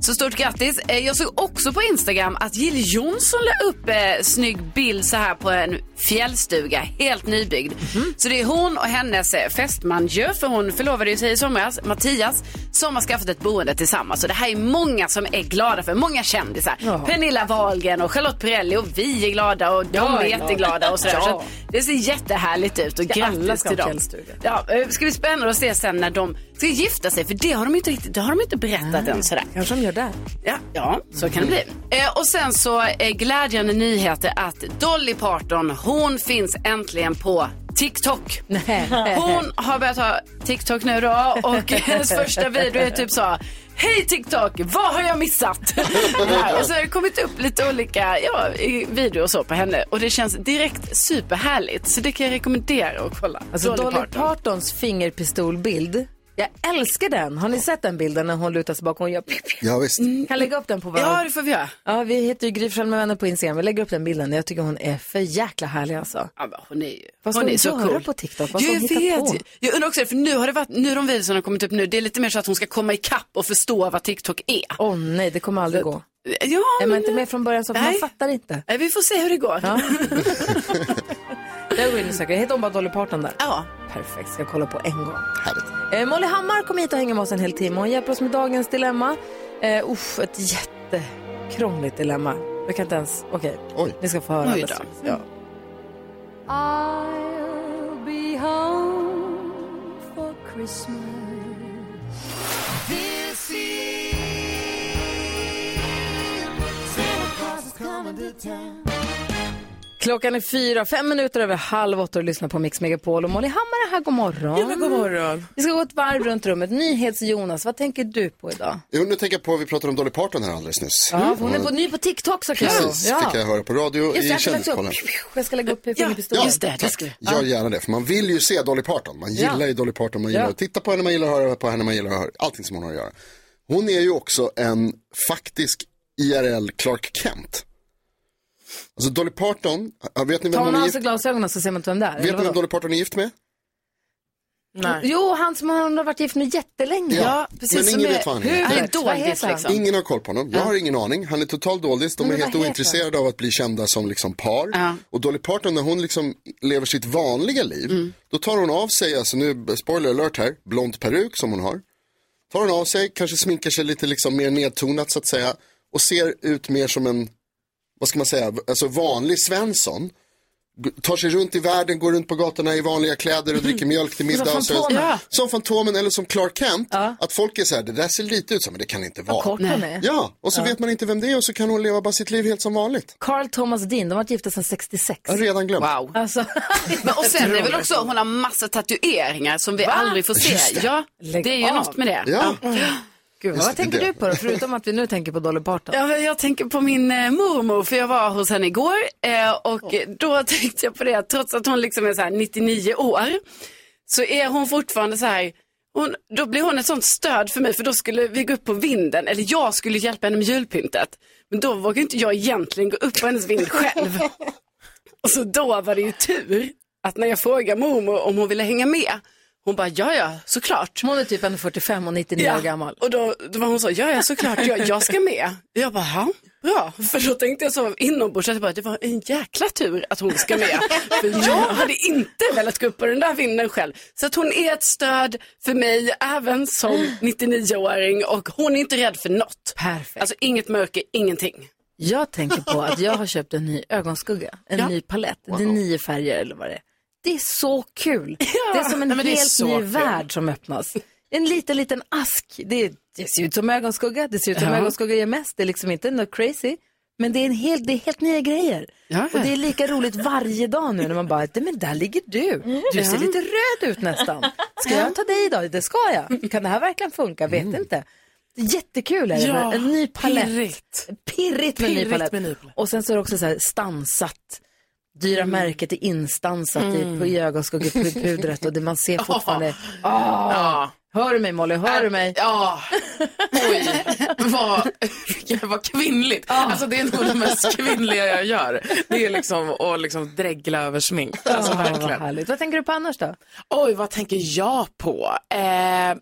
E: Så stort grattis. Eh, Jag såg också på Instagram att Jill Johnson la upp eh, snygg bild så här på en fjällstuga, helt nybyggd. Så det är hon och hennes eh, fästman Jö, för hon förlovade ju sig i somras, Mattias, som har skaffat ett boende tillsammans. Och det här är många som är glada för, många kändisar.
I: Ja.
E: Pernilla Wahlgren och Charlotte Perrelli och vi är glada och de
I: Jag
E: är
I: är
E: jätteglada
I: glad.
E: och sådär.
I: Ja.
E: Så att det ser jättehärligt ut och
I: Ska alla
E: grattis
I: ska
E: till
I: ha
E: dem.
I: fjällstuga?
E: Ja, eh, ska bli spännande att se sen när de ska gifta sig för det har de inte, riktigt, det har de inte berättat än sådär.
A: Kanske de gör där.
E: Ja, ja så kan det bli. Eh, och sen så eh, glädjande nyheter att Dolly Parton, hon finns äntligen på TikTok. Hon har börjat ha TikTok nu då och hennes första video är typ så Hej TikTok, vad har jag missat? Ja, och så har det kommit upp lite olika ja, i- videor och så på henne och det känns direkt superhärligt så det kan jag rekommendera att kolla.
A: Alltså Dolly, Partons fingerpistolbild. Jag älskar den. Har ni sett den bilden när hon lutar sig bakom och gör...
G: Ja, visst.
A: Kan lägga upp den på vår...
E: Ja, det får vi göra.
A: Ja, vi heter ju Gry Forssell med vänner på Instagram. Vi lägger upp den bilden. Jag tycker hon är för jäkla härlig alltså.
E: Ja, men hon är ju
A: Vad
E: hon
A: ska
E: är så
A: hon göra
E: cool.
A: på TikTok? Vad
E: Jag
A: ska hon
E: vet.
A: hitta på?
E: ju. Jag undrar också det, för nu har det varit, nu de videorna har kommit upp nu, det är lite mer så att hon ska komma ikapp och förstå vad TikTok är.
A: Åh nej, det kommer aldrig gå.
E: Ja,
A: är man inte med från början så man
E: Nej.
A: fattar inte.
E: Nej, vi får se hur det går.
A: Ja. jag går in och söker. Heter hon bara Dolly Parton där?
E: Ja.
A: Perfekt, ska jag kolla på en gång. Eh, Molly Hammar kom hit och hänger med oss en hel timme. Hon hjälper oss med dagens dilemma. Eh, usch, ett jättekrångligt dilemma. Jag kan inte ens... Okej, ni ska få höra
M: Oj då.
A: alldeles strax.
G: Mm.
A: Ja.
F: I'll be home for Christmas this Eve. Santa Claus is coming to town.
A: Klockan är fyra, fem minuter över halv åtta och lyssnar på Mix Megapol. Och Molly Hammar är här, god morgon.
G: Ja, men god morgon.
A: Vi ska gå ett varv runt rummet. Nyhets-Jonas, vad tänker du på idag?
G: Jo, nu tänker jag på, vi pratade om Dolly Parton här alldeles nyss.
A: Ja, för hon är på, ny på TikTok så kan
G: Mm. Precis, fick jag höra på radio
A: Just det,
G: i
A: jag ska lägga upp.
G: kändiskollen.
A: Jag ska lägga upp fingerpistolen.
G: tack. Gör gärna det, för man vill ju se Dolly Parton. Man
A: Ja.
G: gillar ju Dolly Parton, man
A: Ja.
G: gillar att titta på henne, man gillar att höra på henne, man gillar att höra allting som hon har att göra. Hon är ju också en faktisk IRL Clark Kent. Alltså Dolly Parton, äh, vet ni
A: Tar
G: vem hon
A: hon
G: är
A: av sig
G: gift,
A: glasögonen så ser man inte vem det är.
G: vet
A: eller
G: ni vem
A: vadå?
G: Dolly Parton är gift med?
A: Jo, han som hon har varit gift med jättelänge.
G: men ingen vet vad han
A: Hur?
G: heter.
A: Vad heter han?
G: Ingen har koll på honom. Jag har ingen aning. Han är total doldis. De
A: liksom. Men
G: är
A: vad
G: helt
A: heter
G: ointresserade av att bli kända som liksom par.
A: Ja.
G: Och Dolly Parton, när hon liksom lever sitt vanliga liv,
A: Mm.
G: då tar hon av sig, alltså nu, spoiler alert här, blond peruk som hon har. Tar hon av sig, kanske sminkar sig lite liksom mer nedtonat så att säga. Och ser ut mer som en, vad ska man säga, alltså vanlig Svensson. G- Tar sig runt i världen, går runt på gatorna i vanliga kläder och dricker mjölk till middag. och så-
M: Fantomen. Ja.
G: som Fantomen eller som Clark Kent. Att folk är så här, det där ser lite ut som, men det kan inte vara.
A: kort hon Nej. är.
G: Ja, och så
A: Ja.
G: vet man inte vem det är och så kan hon leva bara sitt liv helt som vanligt.
A: Carl Thomas Dean, de har varit gifta sedan 66.
G: Jag har redan glömt.
E: Wow.
A: Alltså,
E: Men, och sen är det väl också, hon har massa tatueringar som vi
A: Va?
E: aldrig får se.
A: Just det.
E: Ja,
A: Lägg
E: det är ju
A: av.
E: något med det.
A: Ja. Gud,
E: Just
A: vad
E: det,
A: tänker
E: det.
A: du på då? Förutom att vi nu tänker på Dolly Parton.
E: Ja, men jag tänker på min eh, mormor, för jag var hos henne igår eh, och då tänkte jag på det att trots att hon liksom är så här 99 år så är hon fortfarande så här, hon, då blir hon ett sånt stöd för mig för då skulle vi gå upp på vinden, eller jag skulle hjälpa henne med julpyntet. Men då vågar inte jag egentligen gå upp på hennes vind själv. Och så då var det ju tur att när jag frågade mormor om hon ville hänga med, hon bara ja, ja, såklart.
A: Hon är typ 1,45 och 99 år gammal.
E: Och då, då var hon så, ja, ja såklart, jag, jag ska med. Jag bara, ja, bra. För då tänkte jag så inombords, att jag bara, det var en jäkla tur att hon ska med. För jag hade inte velat gå upp på den där vinden själv. Så att hon är ett stöd för mig, även som 99-åring. Och hon är inte rädd för något.
A: Perfekt.
E: Alltså inget mörker, ingenting.
A: Jag tänker på att jag har köpt en ny ögonskugga, en
E: Ja.
A: ny palett. Det är nio färger eller vad det är. Det är så kul. Det är som en
J: Nej, men det är
A: helt
J: så
A: ny
J: kul.
A: värld som öppnas. En liten, liten ask. Det, är- det ser ut som ögonskugga, det ser ut som
J: Ja.
A: ögonskugga gör mest. Det är liksom inte något crazy. Men det är, en helt, det är helt nya grejer.
J: Ja.
A: Och det är lika roligt varje dag nu när man bara, men där ligger du. Du ser
J: Ja.
A: lite röd ut nästan. Ska jag ta dig idag? Det ska jag. Kan det här verkligen funka? Vet inte. Jättekul är det.
J: Mm. Ja,
A: med en ny palett.
J: pirrigt.
A: Pirrigt med en ny
J: Pirrigt
A: palett.
J: med en ny palett.
A: Och sen så är det också så här stansat. Dyra märket är instansat i,
J: Mm.
A: på i ögonskuggepudret och det man ser fortfarande. Ah.
J: Ja.
A: Hör du mig Molly? Hör du mig?
J: Ja. vad, vilka- vad kvinnligt. Alltså det är nog det mest kvinnliga jag gör. Det är liksom att liksom dregla över smink. Alltså
A: Ah, vad
J: verkligen.
A: härligt. Vad tänker du på annars då?
J: Oj, vad tänker jag på? Eh,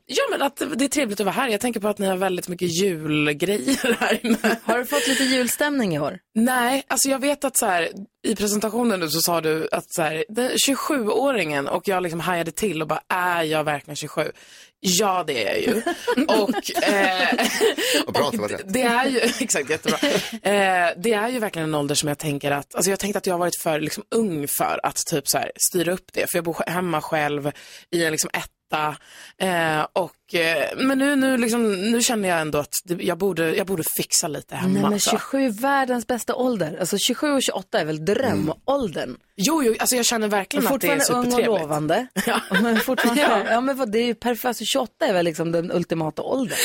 J: ja, men att det är trevligt att vara här. Jag tänker på att ni har väldigt mycket julgrejer här inne.
A: Har du fått lite julstämning i år?
J: Nej, alltså jag vet att så här, i presentationen nu så sa du att så här, den 27-åringen och jag liksom hajade till och bara, är jag verkligen 27? Ja, det är jag ju. och eh,
G: Vad bra att det var rätt.
J: det är ju, exakt jättebra. Eh, det är ju verkligen en ålder som jag tänker att, alltså jag tänkte att jag har varit för liksom, ung för att typ så här, styra upp det. För jag bor sj- hemma själv i en liksom, etta. Eh, och, eh, men nu, nu, liksom, nu känner jag ändå att det, jag, borde, jag borde fixa lite hemma.
A: Nej men
J: så.
A: 27, världens bästa ålder. Alltså 27 och 28 är väl drömåldern.
J: Jo, jo, alltså jag känner verkligen
A: Men
J: att det är
A: Fortfarande ung
J: supertrevligt.
A: och lovande. Ja. Men fortfarande, ja.
J: Ja.
A: men vad, det är ju perfekt. Alltså 28 är väl liksom den ultimata åldern.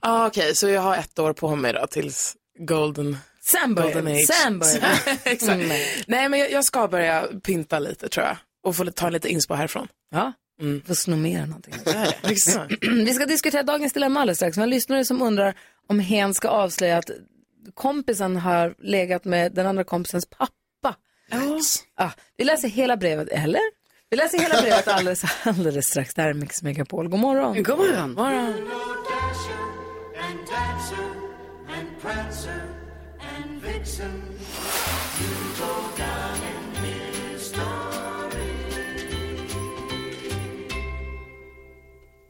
J: Ah, Okej, så jag har ett år på mig då tills golden,
A: Sen börjar
J: golden
A: det.
J: age.
A: Sen börjar det.
J: Exakt.
A: Mm.
J: Nej, men jag, jag ska börja pynta lite tror jag. Och få ta lite inspo härifrån.
A: Ja,
E: Mm.
A: får sno med er någonting.
J: exakt.
A: Vi ska diskutera dagens dilemma alldeles strax. Men en lyssnare som undrar om hen ska avslöja att kompisen har legat med den andra kompisens pappa. Ah, vi läser hela brevet, eller? Vi läser hela brevet alldeles, alldeles strax. Det här är Mix Megapol. God morgon.
E: God
J: Mm.
E: morgon.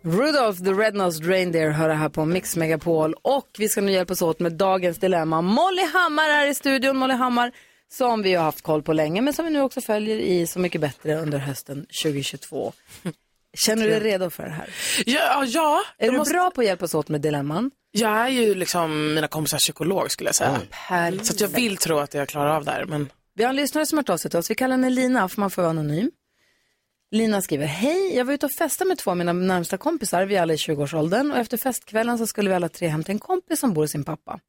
A: Rudolph the Red-Nosed Reindeer hör här på Mix Megapol och vi ska nu hjälpas åt med dagens dilemma. Molly Hammar är i studion, Molly Hammar som vi har haft koll på länge men som vi nu också följer i Så mycket bättre under hösten 2022. Känner du dig redo för det här?
J: Ja, ja.
A: Är du bra på att hjälpas åt med dilemman?
J: Jag är ju liksom mina kompisars psykolog skulle jag säga.
A: Perfekt.
J: Så att jag vill tro att jag klarar av det här. Men...
A: Vi har en lyssnare som har hört av sig till oss. Vi kallar henne Lina, för man får vara anonym. Lina skriver, hej, jag var ute och festade med två av mina närmsta kompisar, vi är alla i 20-årsåldern och efter festkvällen så skulle vi alla tre hem till en kompis som bor hos sin pappa.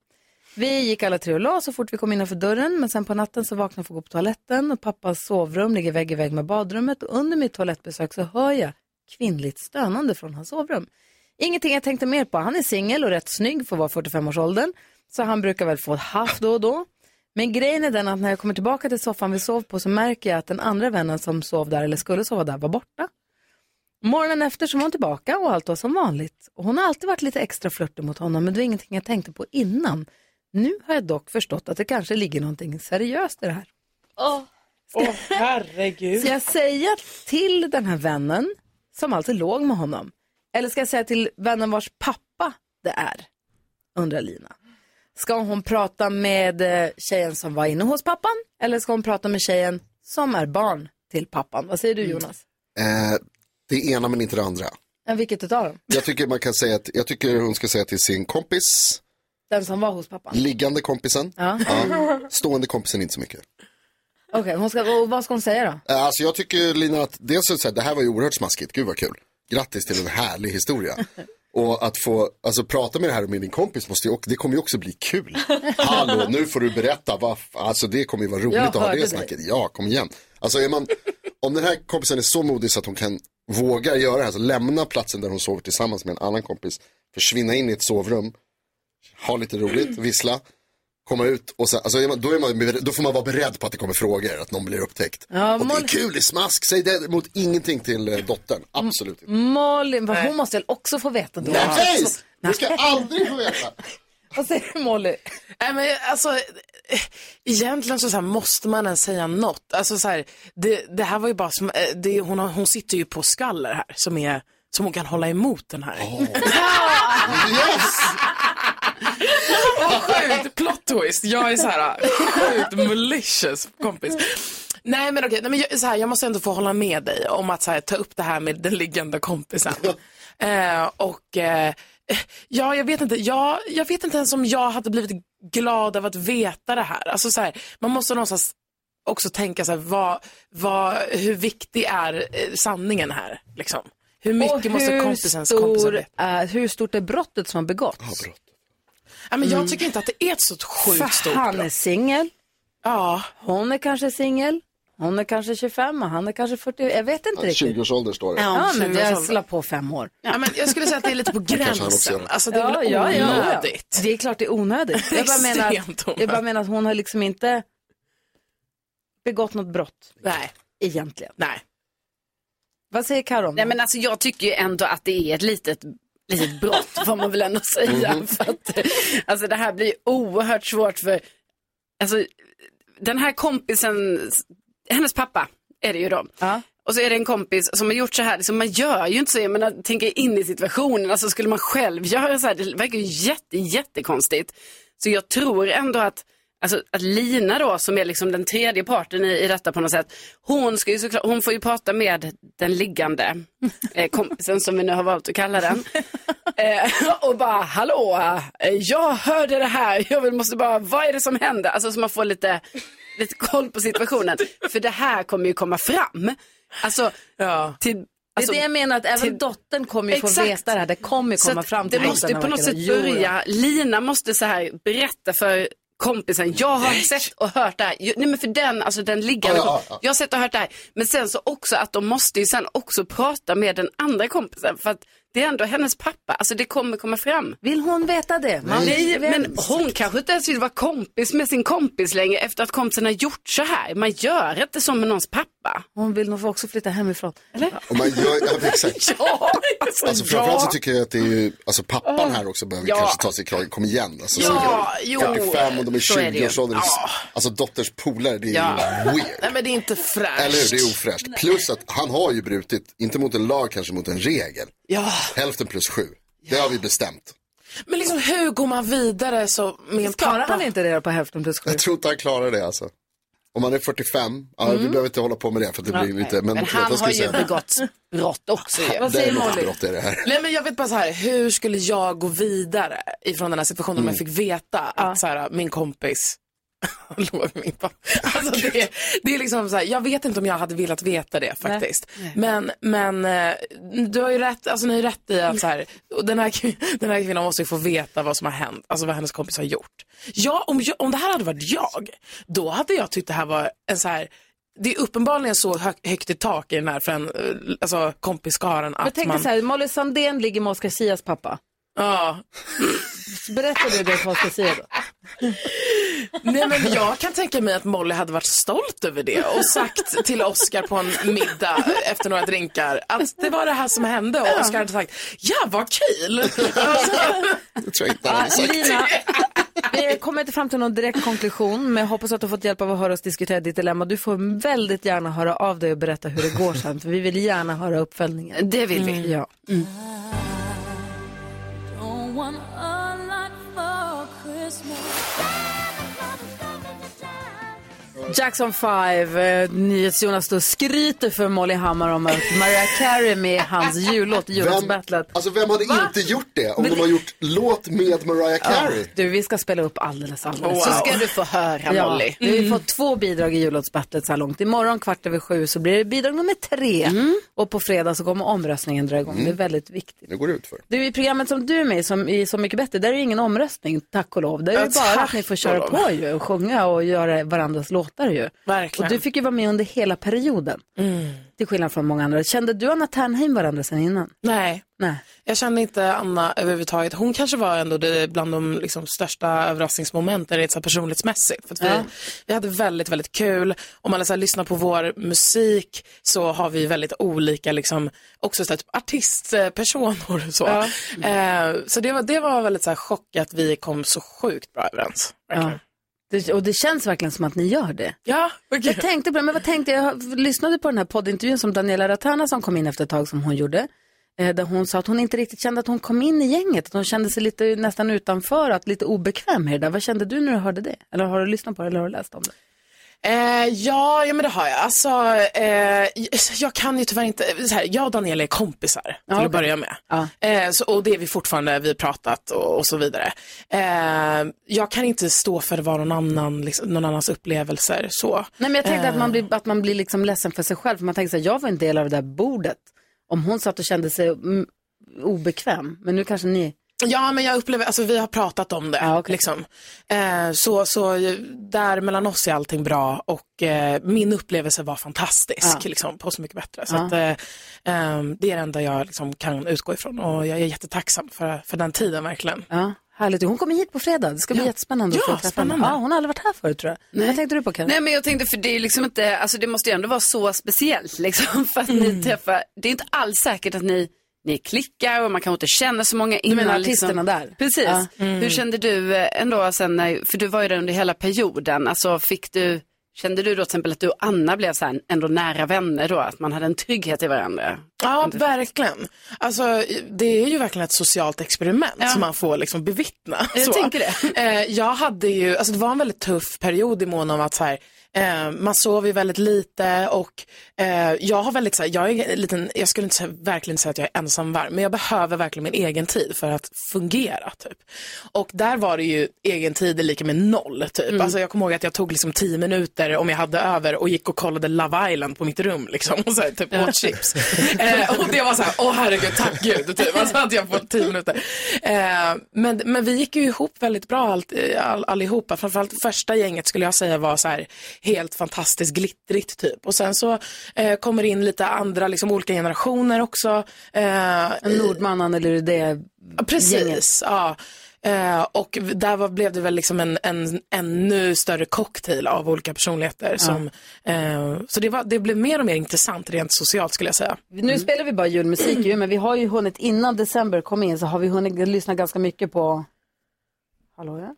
A: Vi gick alla tre och la oss så fort vi kom innanför dörren men sen på natten så vaknade jag för att gå på toaletten och pappas sovrum ligger vägg i vägg med badrummet och under mitt toalettbesök så hör jag kvinnligt stönande från hans sovrum. Ingenting jag tänkte mer på, han är singel och rätt snygg för att vara 45-årsåldern så han brukar väl få ett haff då och då. Men grejen är den att när jag kommer tillbaka till soffan vi sov på så märker jag att den andra vännen som sov där eller skulle sova där var borta. Morgonen efter så var hon tillbaka och allt var som vanligt. Och hon har alltid varit lite extra flörtig mot honom men det var ingenting jag tänkte på innan. Nu har jag dock förstått att det kanske ligger någonting seriöst i det här.
J: Åh, herregud.
A: Ska jag säga till den här vännen som alltså låg med honom? Eller ska jag säga till vännen vars pappa det är? Undrar Lina. Ska hon prata med eh, tjejen som var inne hos pappan? Eller ska hon prata med tjejen som är barn till pappan? Vad säger du
J: Mm.
A: Jonas?
G: Eh, det ena men inte det andra.
A: Ja, vilket utav dem?
G: Jag tycker man kan säga att, jag tycker hon ska säga till sin kompis,
A: Den som var hos pappan?
G: liggande kompisen,
A: Ja.
G: Ja, stående kompisen inte så mycket.
A: Okej, hon ska, och vad ska hon säga då?
G: Eh, Alltså jag tycker Lina att dels är det så här, det här var ju oerhört smaskigt, gud vad kul. Grattis till en härlig historia. Och att få, alltså prata med det här med din kompis måste ju, och det kommer ju också bli kul. Hallå, nu får du berätta, vad, f- alltså det kommer ju vara roligt
D: Jag
G: att ha
D: hörde
G: det
D: dig.
G: snacket. Ja, kom igen. Alltså är man, om den här kompisen är så modig så att hon kan våga göra det här, så lämna platsen där hon sover tillsammans med en annan kompis, försvinna in i ett sovrum, ha lite roligt, vissla, komma ut och sen, alltså är man, då, är man, då får man vara beredd på att det kommer frågor, att någon blir upptäckt.
A: Ja,
G: och det
A: Molly-
G: är kul, det är smask, säg däremot ingenting till eh, dottern,
J: Mm.
G: absolut inte.
A: Malin, vad hon måste väl också få veta då?
G: Nej,
A: Alltså,
G: precis! Du ska aldrig få veta.
A: Vad säger du Molly?
J: Nej, men alltså, eh, egentligen så, så här, måste man ens säga något. Alltså, så här, det, det här var ju bara som, eh, det, hon, har, hon sitter ju på skaller här som, är, som hon kan hålla emot den här.
G: Yes!
J: Vad sjukt plot twist. Jag är så
A: ah,
J: här sjukt malicious kompis. Nej men okej, Nej, men jag, så här, jag måste ändå få hålla med dig om att så här, ta upp det här med den liggande kompisen. eh, och eh, ja, jag vet inte, jag, jag vet inte ens om jag hade blivit glad av att veta det här. Alltså så här, man måste någonstans också tänka så här, vad, vad, hur viktig är eh, sanningen här? Liksom? Hur mycket
A: Och
J: måste
A: hur
J: kompisens
A: stor
J: kompisar veta?
A: är, Hur stort är brottet som har begåtts?
J: Ja, men
A: Mm.
J: jag tycker inte att det är ett så sjukt
A: För
J: stort
A: han
J: brott.
A: är singel.
J: Ja.
A: Hon är kanske singel. Hon är kanske 25 och han är kanske 40. Jag vet inte riktigt.
G: 20-årsålder står det.
A: Ja, men jag slapp på fem år.
J: Ja, men jag skulle säga att det är lite på
G: kanske han också
J: gränsen.
G: gör.
J: Alltså det är väl
A: Ja, ja, ja.
J: onödigt.
A: Det är klart det är onödigt. Jag bara menar
J: Extremt
A: att, jag bara menar att hon har liksom inte begått något brott.
J: Nej.
A: Egentligen.
J: Nej.
A: Vad säger Karon?
E: Nej, men alltså, jag tycker ju ändå att det är ett litet, litet brott, får man väl ändå säga.
G: Mhm.
E: För att, eh, alltså, det här blir ju oerhört svårt för alltså, den här kompisen, hennes pappa är det ju då. Och så är det en kompis som har gjort så här, liksom, man gör ju inte så, jag menar, tänker in i situationen, alltså skulle man själv göra så här, det verkar ju jätte, jättekonstigt. Så jag tror ändå att, alltså, att Lina då, som är liksom den tredje parten i, i detta på något sätt, hon, ska ju såklart, hon får ju prata med den liggande eh, kompisen som vi nu har valt att kalla den. Eh, och bara, hallå, eh, jag hörde det här, jag vill- måste bara, vad är det som händer? Alltså så man får lite, lite koll på situationen. För det här kommer ju komma fram. Alltså, till, alltså,
A: det är det jag menar, att även
E: till-
A: dottern kommer ju få
E: Exakt.
A: veta det här. Det kommer ju
E: Så
A: komma
E: att
A: fram
E: Det
A: till
E: måste
A: dottern
E: på
A: och
E: något
A: verkar-
E: sätt
A: Jo, jo.
E: börja, Lina måste så här berätta för kompisen, jag har sett och hört det här. Ju- Nej men för den, alltså den liggande,
A: Ja, ja, ja.
E: jag har sett och hört det här. Men sen så också att de måste ju sen också prata med den andra kompisen för att det är ändå hennes pappa, alltså det kommer komma fram.
A: Vill hon veta det? Man
E: Nej,
A: vet-
E: men hon kanske inte ens vill vara kompis med sin kompis längre efter att kompisen har gjort så här. Man gör inte så med någons pappa.
A: Hon vill nog få också flytta hemifrån.
E: Eller?
G: Och man gör, ja, exakt.
E: Ja,
G: Alltså framförallt så tycker jag att det är ju, alltså pappan här också behöver
J: Ja.
G: kanske ta sig i kragen, kom igen. Alltså,
J: Ja,
G: så-
J: jo.
G: 45 och de är
J: Så är det ju.
G: 20-årsåldern.
J: Ja.
G: Alltså dotters polare, det är
J: Ja.
G: ju weird.
J: Nej men det är inte fräscht.
G: Eller hur, det är ofräscht. Plus att han har ju brutit, inte mot en lag kanske, mot en regel. Ja. Hälften plus sju. Det har vi bestämt.
J: Men liksom hur går man vidare så med en
A: Klarar
J: pappa?
A: han inte det då på hälften plus sju?
G: Jag tror inte han klarar det alltså. Om han är 45, ja, vi
A: Mm.
G: behöver inte hålla på med det för att det blir
J: Nej.
G: lite, men,
J: Men
G: förlåt,
J: han
G: jag
J: har
G: skulle
J: ju
G: säga det.
J: begått brott också. ju.
G: Det är något brott i det här.
J: Nej men jag vet bara så här, hur skulle jag gå vidare ifrån den här situationen om
G: Mm.
J: jag fick veta att så här, min kompis låg med min pappa. Alltså det, det är liksom så här, jag vet inte om jag hade velat veta det faktiskt.
A: Nej.
J: Men, men eh, du har ju rätt, alltså ni har rätt i att så här, och den, här, kvin- den här kvinnan måste ju få veta vad som har hänt, alltså vad hennes kompis har gjort. Ja, om, jag, om det här hade varit jag, då hade jag tyckt det här var en så här, det är uppenbarligen så hö- högt i tak i den här för en, eh, alltså kompisskaran
A: Jag
J: att
A: tänkte
J: man...
A: så här, Molly Sandén ligger med Oscar Sias pappa.
J: Ja.
A: Berätta du det för Oscar Sia då.
J: Nej men jag kan tänka mig att Molly hade varit stolt över det och sagt till Oscar på en middag efter några drinkar att det var det här som hände och Oscar hade sagt ja vad kul. Alltså,
G: Det tror jag inte
J: han
A: Ah,
J: hade sagt.
A: Lina, vi kommer inte fram till någon direkt konklusion, men jag hoppas att du har fått hjälp av att höra oss diskutera ditt dilemma. Du får väldigt gärna höra av dig och berätta hur det går sen, för vi vill gärna höra uppföljningen.
E: Det vill vi.
J: Mm.
A: Ja.
F: Don't want a lot for Christmas.
A: Jackson 5, eh, NyhetsJonas då skryter för Molly Hammar om att Mariah Carey är med i hans jullåt, i julbattlet.
G: Alltså vem hade inte gjort det om de har gjort låt med Mariah Carey?
A: Du, vi ska spela upp alldeles, alldeles.
J: Så ska du få höra Molly.
A: Ja, vi har fått två bidrag i jullåtsbattlet så här långt. Imorgon kvart över sju så blir det bidrag nummer tre.
J: Mm.
A: Och på fredag så kommer omröstningen dra igång.
G: Mm.
A: Det är väldigt viktigt.
G: Nu går det ut för.
A: Du, i programmet som du är med i, som, i Så mycket bättre, där är det ingen omröstning, tack och lov. Där är
J: Ja,
A: det bara att
J: tack
A: ni får
J: och
A: köra
J: lov.
A: på ju och sjunga och göra varandras låtar ju.
J: Verkligen. Mm.
A: Och du fick ju vara med under hela perioden, till skillnad från många andra. Kände du Anna Ternheim varandra sen innan?
J: Nej.
A: Nej.
J: Jag kände inte Anna överhuvudtaget. Hon kanske var ändå det bland de liksom, största överraskningsmomenten rent så här personlighetsmässigt. För att vi,
A: Ja.
J: vi hade väldigt, väldigt kul. Om man så här, lyssnar på vår musik så har vi väldigt olika liksom, också så här, typ, artistpersonor. och Så, eh, så det, var, det var väldigt så här, chock att vi kom så sjukt bra överens.
A: Ja. Det, och det känns verkligen som att ni gör det.
J: Ja,
A: Jag tänkte på det, men vad tänkte jag? Jag lyssnade på den här poddintervjun som Daniela Ratana som kom in efter ett tag som hon gjorde. eh, Där hon sa att hon inte riktigt kände att hon kom in i gänget. Att hon kände sig lite nästan utanför, att lite obekväm i det där. Vad kände du när du hörde det? Eller har du lyssnat på det eller har du läst om det?
J: Eh, ja, ja, men det har jag. Alltså, eh, jag kan ju tyvärr inte, så här, jag och Daniela är kompisar till
A: okej.
J: att börja med.
A: Ja.
J: Eh, så, och det är vi fortfarande, vi har pratat och, och så vidare. Eh, jag kan inte stå för vad någon, annan, liksom, någon annans upplevelser så.
A: Nej, men jag tänkte
J: Eh.
A: att man blir, att man blir liksom ledsen för sig själv. För man tänker så här, jag var en del av det där bordet. Om hon satt och kände sig mm, obekväm. Men nu kanske ni...
J: Ja, men jag upplever, alltså vi har pratat om det. liksom. eh, så, så där mellan oss är allting bra och eh, min upplevelse var fantastisk
A: Ja.
J: liksom, på Så mycket bättre. Så
A: Ja.
J: att, eh, eh, det är det enda jag liksom, kan utgå ifrån och jag är jättetacksam för, för den tiden verkligen.
A: Ja, härligt. Hon kommer hit på fredag. Det ska bli jättespännande att
E: Ja,
A: få träffa
E: spännande.
A: henne. Ja, hon har aldrig varit här förut tror jag. Vad tänkte du på Karin?
E: Nej men jag tänkte för det är liksom inte, alltså det måste ju ändå vara så speciellt liksom för att
J: Mm.
E: ni träffar, det är inte alls säkert att ni, ni klickar och man kanske inte känner så många
A: Du
E: innan.
A: menar artisterna
E: liksom.
A: där?
E: Precis.
A: Ja. Mm.
E: Hur kände du eh, ändå sen, när, för du var ju där under hela perioden, alltså fick du, kände du då till exempel att du och Anna blev så här ändå nära vänner då, att man hade en trygghet i varandra?
J: Ja, verkligen. Alltså, det är ju verkligen ett socialt experiment som man får liksom bevittna.
E: Jag
J: så.
E: tänker
J: det. Eh, jag hade ju, alltså det var en väldigt tuff period i mån om att så här, eh, man sov ju väldigt lite och eh, jag har väldigt så här, jag är en liten, jag skulle inte säga, verkligen inte säga att jag är ensamvarg, men jag behöver verkligen min egen tid för att fungera typ. Och där var det ju egen tid är lika med noll typ. Alltså jag kommer ihåg att jag tog liksom tio minuter om jag hade över och gick och kollade Love Island på mitt rum liksom och så här, typ åt chips. Eh, och det var så här, åh herregud, tack gud, typ. Alltså att jag fått tio minuter. Eh, men, men vi gick ju ihop väldigt bra allt, eh, all, allihopa. Framförallt första gänget skulle jag säga var så här helt fantastiskt glittrigt typ. Och sen så eh, kommer det in lite andra, liksom olika generationer också. Eh,
A: Nordmannen eller det
J: Ja, Precis,
A: gänget.
J: ja. Eh, och v- där var, blev det väl liksom en, en ännu större cocktail av olika personligheter. Som, eh, så det, var, det blev mer och mer intressant rent socialt skulle jag säga.
A: Nu spelar vi bara julmusik ju, men vi har ju hunnit innan december kom in så har vi hunnit lyssna ganska mycket på... Hallå ja?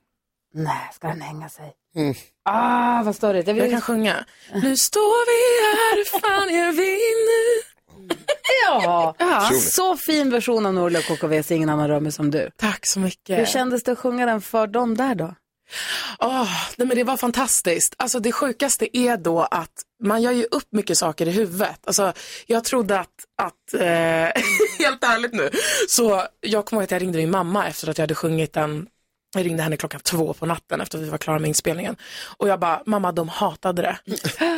A: Nej, ska den hänga sig?
J: Mm.
A: Ah, vad störigt. Jag, vill...
J: Jag kan sjunga. Nu står vi här, fan gör vi nu?
A: Ja,
G: Otroligt.
A: så fin version av Norli och KKVs Ingen annan rör mig som du.
J: Tack så mycket.
A: Hur kändes det att sjunga den för dem där då?
J: Åh, nej men det var fantastiskt. Alltså det sjukaste är då att man gör ju upp mycket saker i huvudet. Alltså jag trodde att, att eh, helt ärligt nu, så jag kommer ihåg att jag ringde min mamma efter att jag hade sjungit den. Jag ringde henne klockan två på natten efter att vi var klara med inspelningen. Och jag bara, mamma de hatade det.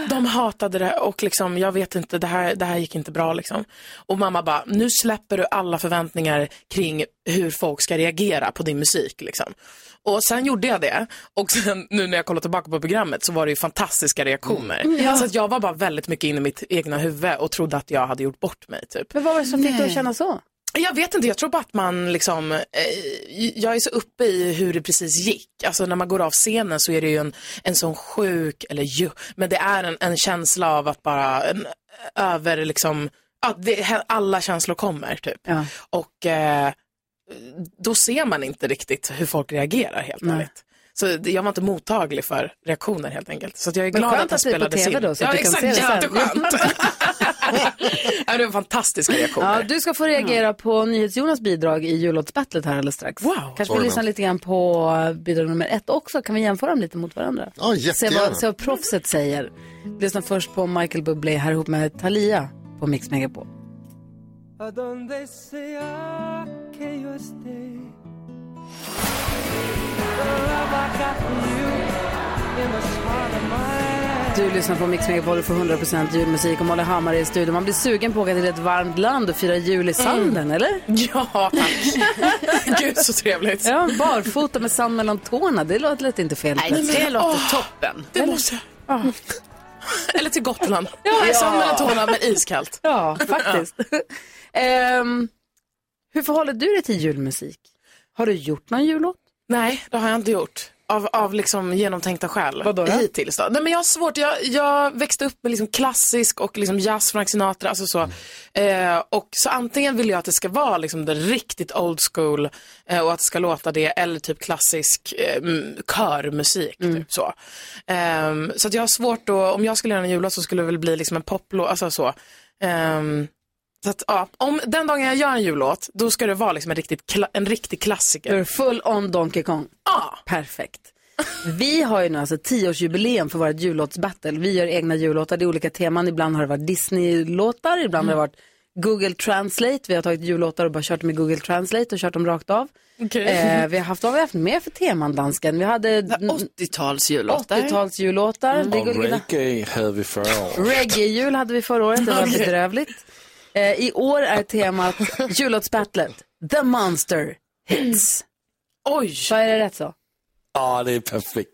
J: De hatade det och liksom, jag vet inte, det här, det här gick inte bra liksom. Och mamma bara, nu släpper du alla förväntningar kring hur folk ska reagera på din musik liksom. Och sen gjorde jag det och sen nu när jag kollar tillbaka på programmet så var det ju fantastiska reaktioner.
A: Mm. Ja.
J: Så att jag var bara väldigt mycket inne i mitt egna huvud och trodde att jag hade gjort bort mig typ.
A: Men vad var det som fick dig att
J: Nej.
A: känna så?
J: Jag vet inte, jag tror bara att man liksom, eh, jag är så uppe i hur det precis gick. Alltså när man går av scenen så är det ju en, en sån sjuk, eller ju, men det är en, en känsla av att bara en, över liksom, att det, alla känslor kommer typ. Och eh, då ser man inte riktigt hur folk reagerar helt
A: Nej.
J: ärligt. Så det- jag var inte mottaglig för reaktioner helt enkelt. Så att jag är
A: Men
J: glad
A: skönt
J: att det
A: att vi är
J: spelades
A: på TV
J: in.
A: då, så
J: ja,
A: att du kan
J: exakt,
A: se det sen.
J: jätteskönt. ja, det var fantastiska reaktioner.
A: Ja, du ska få reagera på NyhetsJonas bidrag i jullåtsbattlet här alldeles strax. Wow. Kanske vi
J: Jajamän.
A: lyssnar lite grann på bidrag nummer ett också. Kan vi jämföra dem lite mot varandra?
G: Ja,
A: se,
G: jättegärna.
A: vad, se vad proffset säger. Lyssna först på Michael Bublé här ihop med Thalia på Mix Megapol.
R: A donde sea que yo esté.
A: Du lyssnar på Mix Megapol och får 100% julmusik och Molly Hammar är i studion. Man blir sugen på att åka till ett varmt land och fira jul i sanden, eller?
J: Mm. Ja, tack. Gud, så trevligt.
A: Ja, barfota med sand mellan tårna, det låter lite inte fel.
J: Nej, det låter
A: toppen.
J: Det måste
A: jag.
J: Eller till Gotland.
A: Ja.
J: Ja, I sand mellan tårna, men iskallt.
A: Ja, faktiskt. Ehm, hur förhåller du dig till julmusik? Har du gjort någon jullåt?
J: Nej, det har jag inte gjort. Av, av liksom genomtänkta skäl.
A: Vadå då?
J: Hittills då? Nej, men jag har svårt. Jag, jag växte upp med liksom klassisk och liksom jazz, Frank Sinatra, alltså så. Eh, och så antingen vill jag att det ska vara liksom det riktigt old school eh, och att det ska låta det, eller typ klassisk eh, m- körmusik.
A: Mm.
J: Typ så Ehm, så att jag har svårt då, om jag skulle göra en jullåt så skulle det väl bli liksom en poplåt, alltså så. Ehm, så att, ja, om den dagen jag gör en jullåt, då ska det vara liksom en, riktigt kla- en riktig klassiker.
A: Du är full on Donkey Kong.
J: Ja.
A: Perfekt. Vi har ju nu alltså tioårsjubileum för vårt jullåtsbattle. Vi gör egna jullåtar, det är olika teman. Ibland har det varit Disney-låtar, ibland har det varit Google Translate. Vi har tagit jullåtar och bara kört dem i Google Translate och kört dem rakt av.
E: Okej.
A: Eh, vi har haft, vad har vi haft mer för teman, dansken? Vi hade 80-talsjullåtar. 80-talsjullåtar.
J: Mm.
A: Det går-
S: Och reggae hade vi förra året.
A: Reggae-jul hade vi förra året, det var
S: Okej.
A: bedrövligt. Eh, I år är temat jullåtsbattlet, The Monster Hits.
J: Oj!
A: Så är det rätt så?
S: Ja, det är perfekt.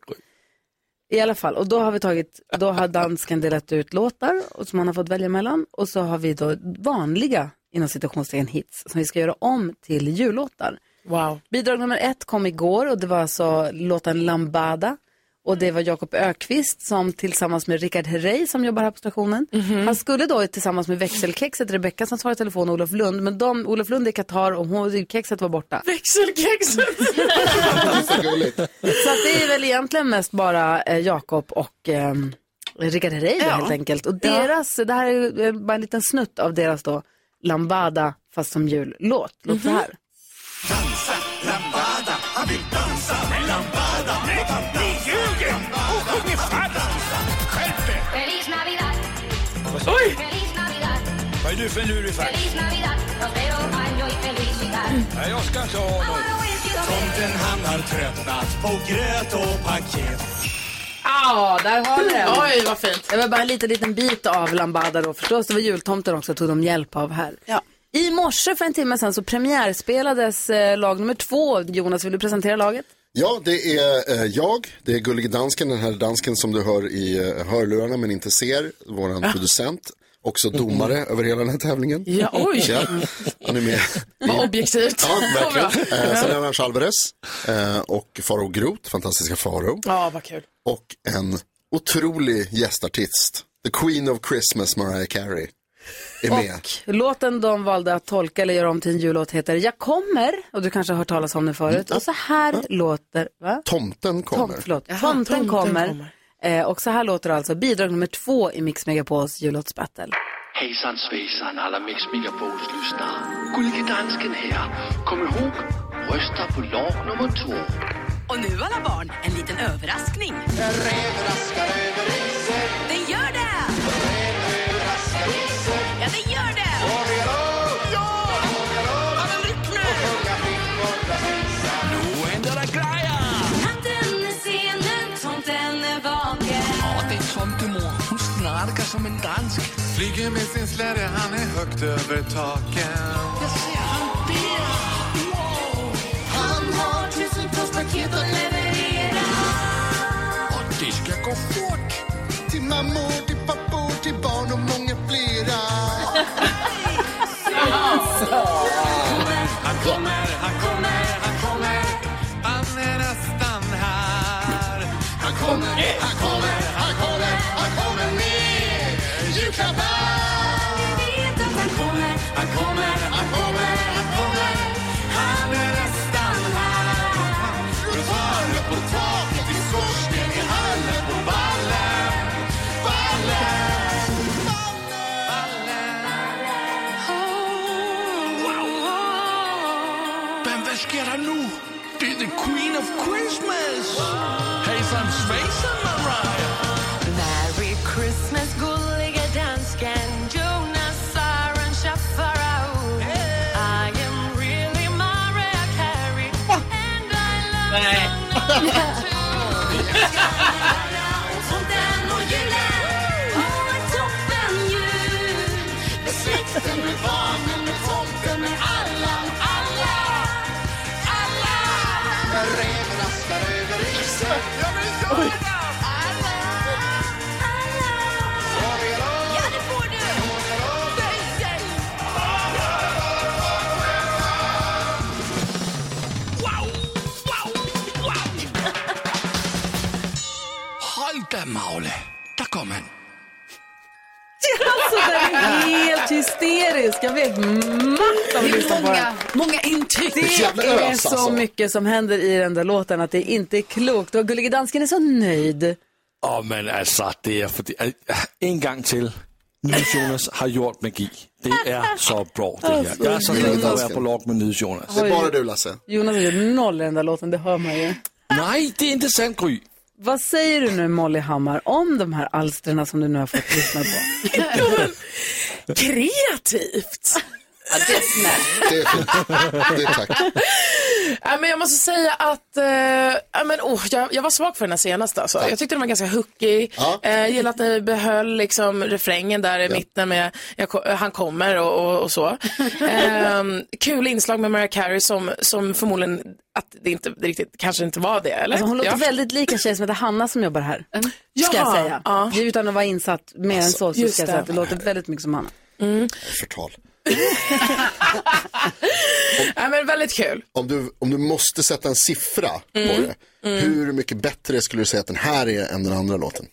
A: I alla fall, och då har vi tagit, då har dansken delat ut låtar och som han har fått välja mellan och så har vi då vanliga, inom citationstecken, hits som vi ska göra om till jullåtar.
J: Wow.
A: Bidrag nummer ett kom igår och det var alltså låten Lambada. Och det var Jakob Ökvist som tillsammans med Rickard Herrey som jobbar här på stationen. Han skulle då tillsammans med växelkexet Rebecka som svarar i telefon och Olof Lund. Men de, Olof Lund är i Qatar och hon, kexet var borta.
J: Växelkexet!
A: Så att det är väl egentligen mest bara eh, Jakob och eh, Rickard Herrey då,
J: Ja.
A: helt enkelt. Och
J: Ja.
A: deras, det här är eh, bara en liten snutt av deras då Lambada fast som jullåt.
U: Mhm.
A: Låt så här.
M: Lambada, han vill dansa Lambada Nej, ni ljuger och sjunger falskt Skärp er!
V: Feliz Navidad,
M: Oj!
V: feliz Navidad,
M: Vad är du för en lurifax?
V: feliz Navidad. Los veo año y felicidad.
M: Nej, jag ska inte ha något Tomten han har tröttnat på gröt och paket
A: Ja, där har ni den.
J: Oj, vad fint.
A: Det var bara en liten, liten bit av Lambada då förstås. Det var jultomten också, tog de hjälp av här. I morse för en timme sedan så premiärspelades eh, lag nummer två. Jonas, vill du presentera laget?
G: Ja, det är eh, jag, det är Gullige Dansken, den här dansken som du hör i eh, hörlurarna men inte ser, våran
A: Ah.
G: producent, också domare över hela den här tävlingen.
J: Mm. Ja, oj.
G: han är med.
J: Vad objektivt.
G: Ja,
J: Vad bra.
G: verkligen. Eh, sen är Lars Alvarez eh, och Faro Groth, fantastiska Faro.
J: Ja, vad kul.
G: Och en otrolig gästartist, the queen of Christmas, Mariah Carey, är med.
A: Låten de valde att tolka eller göra om till en jullåt heter Jag kommer, och du kanske har hört talas om den
J: Mm.
A: förut. Och så här låter, va?
G: Tomten
A: kommer. Tom, förlåt, tomten,
J: tomten
A: kommer. Eh, och så här låter alltså bidrag nummer två i Mix Megapols jullåtsbattle.
W: Hejsan svejsan alla Mix Megapols lyssnare. Gullige dansken här. Kom ihåg, rösta på lag nummer två.
U: Och nu alla barn, en liten överraskning. Det gör det! Ja, det gör det!
T: Nu händer det grejer!
F: Natten är sen, men tomten är vaken.
W: Ja, det är tomtemor. Hon snarkar som en dansk.
X: Flyger med sin släde, han är högt över taken.
T: Jag ser han ber. Wow. Han har tusentals paket att leverera.
X: Och det ska gå fort Till mammor, till pappor, till barn och många flera
M: Han kommer, han kommer, han kommer. Han är nästan här. Han kommer, han kommer, han kommer, han kommer med julklappar. Han kommer, han kommer, han kommer, han kommer. Han är nästan här. Runt hörnet på taket, i skorsten, i hallen, på ballen. Ballen,
T: Men vad sker det nu? Det är the Queen of Christmas! Hejsan svejsan, Mariah!
U: Merry Christmas, gulliga dansken Jonas Aron Shafarao I am really Mariah Carey And I love
T: Nej.
U: tomten och julen
T: Åh, ett toppenjul! Med släkten, med barnen, med tomten, med alla, alla, alla! Reven raskar över isen. Ja, men gör det!
W: Håll dig, Maule. Där kom han.
A: Alltså, den är helt hysterisk. Jag vet matt av att lyssna på den.
E: många intryck.
A: Det är så mycket som händer i den där låten att det inte är klokt. Och Gullige Dansken är så nöjd.
S: Åh, men altså, det er fordi... al- En gang til. Nydes Jonas har gjort magi. Det er så bra, det her. Jeg er så glad for at være på log med Nydes Jonas.
A: Det er bare
G: du, Lasse.
A: Jonas har gjort noll i den där låten, det hör man ju.
S: Nej, det är inte sant, Gry.
A: Vad säger du nu, Molly Hammar, om de här alstren som du nu har fått lyssna på?
J: Kreativt!
E: Ja, det är snällt.
G: Det är fint. Det är tack.
J: Ja, men jag måste säga att eh, ja, men, oh, jag, jag var svag för den här senaste. Alltså. Jag tyckte den var ganska hookig.
G: Ja.
J: Eh, jag gillade att ni behöll liksom, refrängen där i mitten med jag, ko- eh, han kommer och, och, och så. eh, kul inslag med Mariah Carey som, som förmodligen att det inte det riktigt kanske inte var det. Eller?
A: Alltså, hon låter
J: Ja.
A: väldigt lik en tjej som heter Hanna som jobbar här. Ska jag
J: Jaha,
A: säga. Det är Utan att vara insatt mer än så, så
J: just
A: ska jag
J: det.
A: säga att Alltså, det låter väldigt mycket som Hanna.
G: Förtal.
J: Nej, men väldigt kul.
G: Om du, om du måste sätta en siffra på
J: Mm.
G: det, hur mycket bättre skulle du säga att den här är än den andra låten?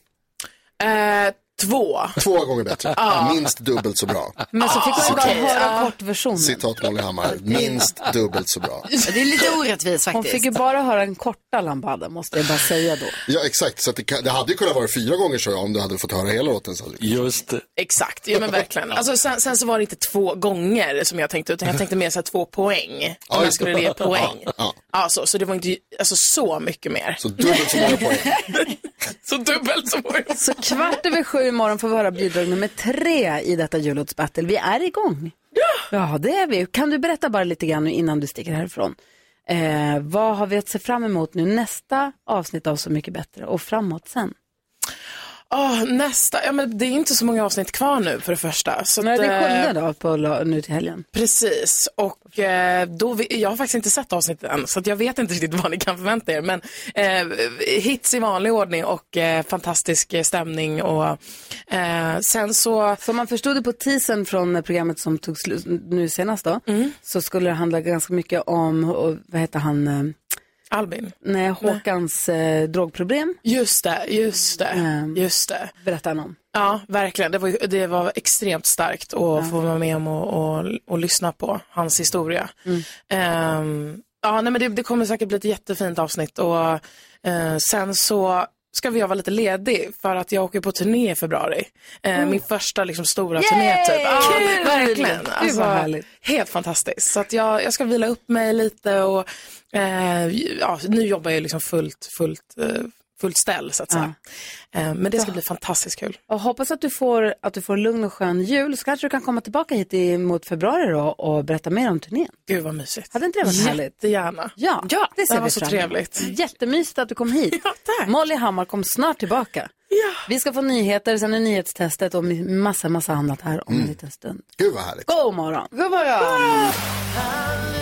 J: Eh, två.
G: Två gånger bättre.
J: Ja.
G: Minst dubbelt så bra.
A: Men så fick hon bara
G: Citat-
A: höra kortversionen.
G: Citat Molly Hammar. Minst dubbelt så bra.
A: Det är lite orättvist faktiskt. Hon fick ju bara höra den korta lambada, måste jag bara säga då.
G: Ja, exakt. Så att det, kan, det hade ju kunnat vara fyra gånger så om du hade fått höra hela låten. Så.
S: Just det.
J: Exakt, ja men verkligen. Alltså, sen, sen så var det inte två gånger som jag tänkte, utan jag tänkte mer så här två poäng. Om jag skulle ge poäng.
G: Ja, ja.
J: Ja, så, så det var inte alltså, så mycket mer.
G: Så dubbelt så många poäng.
J: så dubbelt så många.
A: Så kvart över sju imorgon får vi höra bidrag nummer tre i detta jullåtsbattle. Vi är igång. Ja! Ja, det är vi. Kan du berätta bara lite grann nu innan du sticker härifrån? Eh, vad har vi att se fram emot nu nästa avsnitt av Så mycket bättre och framåt sen?
J: Åh, nästa, ja men det är inte så många avsnitt kvar nu för det första. Så
A: När är
J: att, eh,
A: det sjunde då, på, la- nu till helgen?
J: Precis, och eh, då, vi- jag har faktiskt inte sett avsnittet än så att jag vet inte riktigt vad ni kan förvänta er. Men eh, hits i vanlig ordning och eh, fantastisk eh, stämning och eh, sen så...
A: Som man förstod det på teasern från programmet som tog slut nu senast då,
J: Mm.
A: så skulle det handla ganska mycket om, och, vad heter han, eh,
J: Albin?
A: nej, Håkans eh, drogproblem.
J: Just det, just det, just det.
A: Berätta han om.
J: Ja, verkligen. Det var, ju- det var extremt starkt att få vara med om och, och, och lyssna på hans historia.
E: Mm.
J: Ehm, ja, nej, men det, det kommer säkert bli ett jättefint avsnitt. Och, eh, sen så ska jag vara lite ledig för att jag åker på turné i februari. Eh,
E: Mm.
J: Min första liksom, stora
E: Yay!
J: turné typ. Ja,
E: Kul!
J: Verkligen.
E: Gud, vad
J: Alltså,
E: härligt.
J: helt fantastiskt. Så att jag, jag ska vila upp mig lite och eh, ja, nu jobbar jag liksom fullt, fullt, eh, fullt ställ så att säga. Eh, men det ska bli fantastiskt kul.
A: Och hoppas att du, får, att du får lugn och skön jul så kanske du kan komma tillbaka hit i, mot februari då och berätta mer om turnén.
J: Gud vad mysigt.
A: Hade inte det varit härligt?
J: Jättegärna.
A: Ja, ja det
J: det
A: ser
J: här
A: vi
J: var så
A: fram emot.
J: trevligt.
A: Jättemysigt att du kom hit. Molly Hammar kom snart tillbaka. Vi ska få nyheter, sen är nyhetstestet och massa, massa annat här om en liten stund.
G: Gud vad härligt.
A: God morgon! God
E: morgon!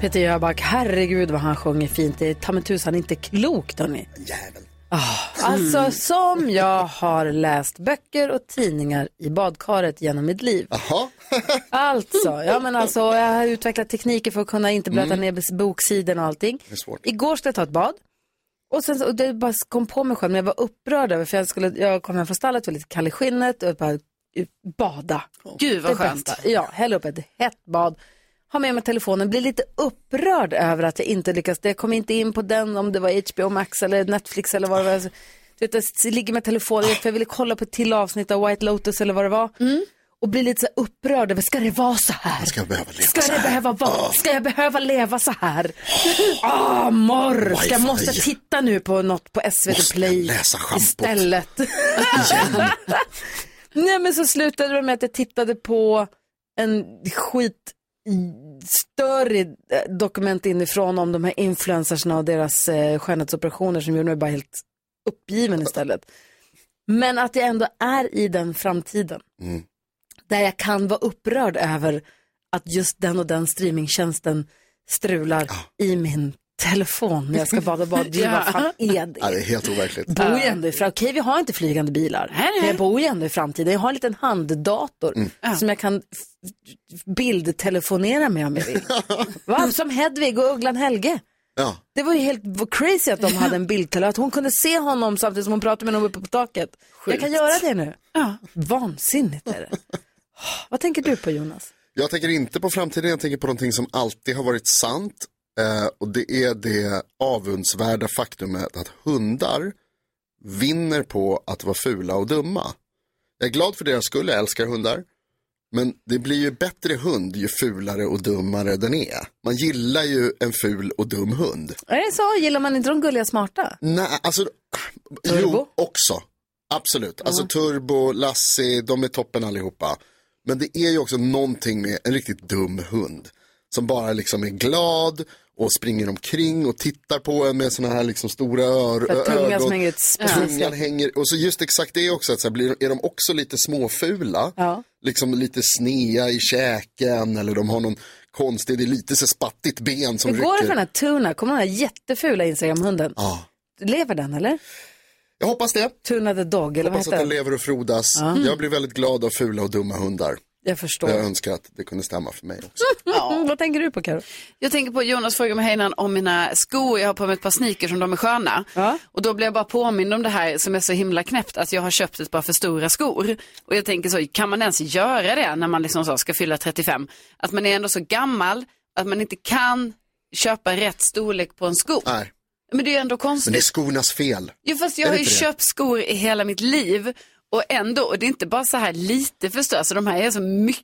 A: Peter Jöback, herregud vad han sjunger fint. Det är ta mig tusan inte klokt hörni. Ah, alltså som jag har läst böcker och tidningar i badkaret genom mitt liv. Alltså, ja men alltså jag har utvecklat tekniker för att kunna inte blöta
I: Mm.
A: ner boksidorna och allting.
I: Det är svårt.
A: Igår skulle jag ta ett bad. Och sen så, och det bara kom på mig själv, men jag var upprörd över, för jag, skulle, jag kom hem från stallet, var lite kall i skinnet och bara ut- bada.
E: Gud, vad
A: Det
E: skönt.
A: bästa. Ja, häll upp ett hett bad. Ha med mig telefonen, blir lite upprörd över att jag inte lyckas. Jag kom inte in på den om det var HBO Max eller Netflix eller vad det var. Du vet, jag ligger med telefonen för jag ville kolla på ett till avsnitt av White Lotus eller vad det var. Och blir lite så här upprörd över, ska det vara så här?
G: Mm. Ska jag behöva leva
A: Ska
G: så
A: det
G: här?
A: behöva vara? Ska jag behöva leva så här? Ah, morr! Ska jag
G: Wifi.
A: måste titta nu på något på SVT
G: Måste
A: Play
G: jag läsa schampot?
A: istället? Nej men så slutade det med att jag tittade på en skitstörre eh, dokument inifrån om de här influencersna och deras eh, skönhetsoperationer som gjorde mig bara helt uppgiven istället. Men att jag ändå är i den framtiden
G: Mm.
A: där jag kan vara upprörd över att just den och den streamingtjänsten strular i min telefon när jag ska bada bad. Gud, Vad fan är det?
G: Ja, det är helt overkligt.
A: Bor ju ändå i framtiden. Okej, vi har inte flygande bilar. Men jag bor ju ändå i framtiden. Jag har en liten handdator som jag kan f- f- bildtelefonera med om jag vill. Va? Som Hedvig och Ugglan Helge.
G: Ja.
A: Det var ju helt v- crazy att de hade en bildtelefonera. Att hon kunde se honom samtidigt som hon pratade med honom uppe på taket. Jag kan
G: Sjukt.
A: göra det nu. Vansinnigt är det. Vad tänker du på Jonas?
G: Jag tänker inte på framtiden, jag tänker på någonting som alltid har varit sant. Eh, och det är det avundsvärda faktumet att hundar vinner på att vara fula och dumma. Jag är glad för deras skull, jag älskar hundar. Men det blir ju bättre hund ju fulare och dummare den är. Man gillar ju en ful och dum hund.
A: Är det så? Gillar man inte de gulliga smarta?
G: Nej, alltså... Jo, också. Absolut. Alltså Turbo, Lassie, de är toppen allihopa. Men det är ju också någonting med en riktigt dum hund. Som bara liksom är glad och springer omkring och tittar på en med sådana här liksom stora ör-
A: För att tungan
G: ögon.
A: som hänger ut speciellt.
G: tungan hänger, och så just exakt det också, att så här, blir, är de också lite småfula? Liksom lite snea i käken eller de har någon konstig, det är lite så spattigt ben som
A: Hur går det
G: rycker.
A: för den här Tuna? Kommer den här jättefula Instagram-hunden?
G: Ja.
A: Lever den eller?
G: Jag hoppas det.
A: Tuna the Dog eller vad
G: Hoppas
A: heter
G: att den
A: den?
G: lever och frodas.
A: Ja.
G: Jag blir väldigt glad av fula och dumma hundar.
A: Jag förstår.
G: Jag önskar att det kunde stämma för mig också.
A: Vad tänker du på Karo?
E: Jag tänker på Jonas frågade mig här innan om mina skor. Jag har på mig ett par sneakers som de är sköna. Och då blev jag bara påmind om det här som är så himla knäppt att jag har köpt ett par för stora skor. Och jag tänker så, kan man ens göra det när man liksom så ska fylla 35? Att man är ändå så gammal att man inte kan köpa rätt storlek på en sko.
G: Nej.
E: Men det är ju ändå
G: Men det är
E: konstigt.
G: skornas fel.
E: Jo, fast
G: Är
E: jag
G: det
E: har ju
G: inte det?
E: köpt skor i hela mitt liv och ändå, och det är inte bara så här lite för stora, så de här är så mycket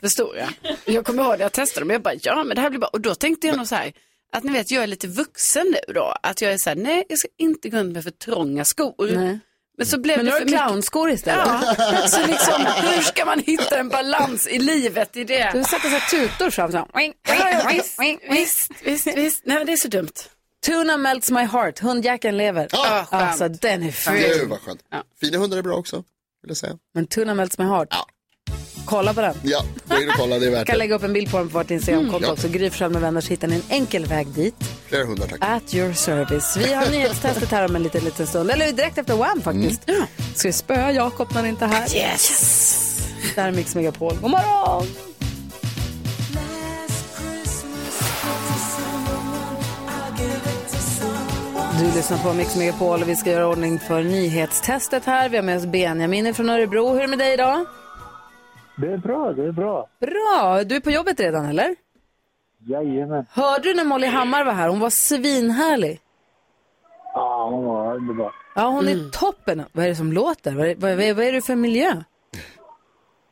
E: för stora. Jag kommer ihåg när jag testade dem, jag bara, ja men det här blir bara, och då tänkte jag nog så här, att ni vet, jag är lite vuxen nu då, att jag är så här, nej jag ska inte gå runt med för trånga skor. Men så blev
A: Men
E: det
A: nu har
E: för
A: du
E: mycket.
A: clownskor istället.
E: Ja, så liksom, hur ska man hitta en balans i livet i det?
A: Du sätter så här tutor fram så här. Oing,
E: Ja,
A: oing,
E: visst,
A: oing, oing.
E: visst, visst, visst. Nej, men det är så dumt.
A: Tuna melts my heart, hundjäkeln lever.
E: Ah, skönt.
A: alltså den är
G: Gud
A: ful.
G: vad skönt. Fina hundar är bra också, vill jag säga.
A: Men Tuna melts my heart. Kolla på den.
G: Ja, gå in och kolla, det är värt
A: kan
G: det.
A: lägga upp en bild på den på vårt Instagramkonto
G: Mm. Ja.
A: också. Gry Forssell med vänner så hittar ni en enkel väg dit.
G: Flera hundar tack.
A: At your service. Vi har nyhetstestet här om en liten, liten stund. Eller direkt efter Wham faktiskt. Ska vi spöa Jakob när han inte är här? Yes! Där är Mix Megapol. God morgon! Du lyssnar på Mix Megapol och vi ska göra ordning för nyhetstestet här. Vi har med oss Benjamin från Örebro. Hur är det med dig idag?
B: Det är bra, det är bra.
A: Bra! Du är på jobbet redan eller?
B: Jajamän.
A: Hörde du när Molly Hammar var här? Hon var svinhärlig.
B: Ja, hon var underbar.
A: Ja, hon är toppen. Vad är det som låter? Vad är, vad är, vad är det för miljö?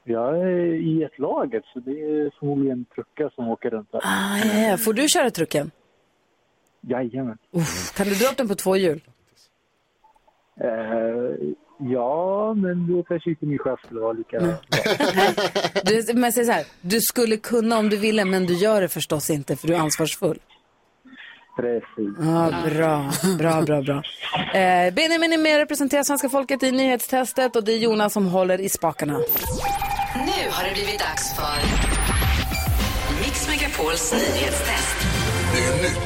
B: Jag är i ett laget, så det är förmodligen truckar som åker runt där.
A: Ah, ja, ja. Får du köra trucken?
B: Jajamän.
A: Uff, kan du dra upp den på två hjul?
B: Eh, ja, men det kanske inte min chef skulle vara lika
A: Mm.
B: bra.
A: Du, men jag säger så här, du skulle kunna om du ville, men du gör det förstås inte för du är ansvarsfull.
B: Precis.
A: Ja, bra, bra, bra, bra. Eh, Benjamin är med och representerar svenska folket i nyhetstestet och det är Jonas som håller i spakarna.
C: Nu har det blivit dags för Mix Megapols nyhetstest.
M: Det är nytt,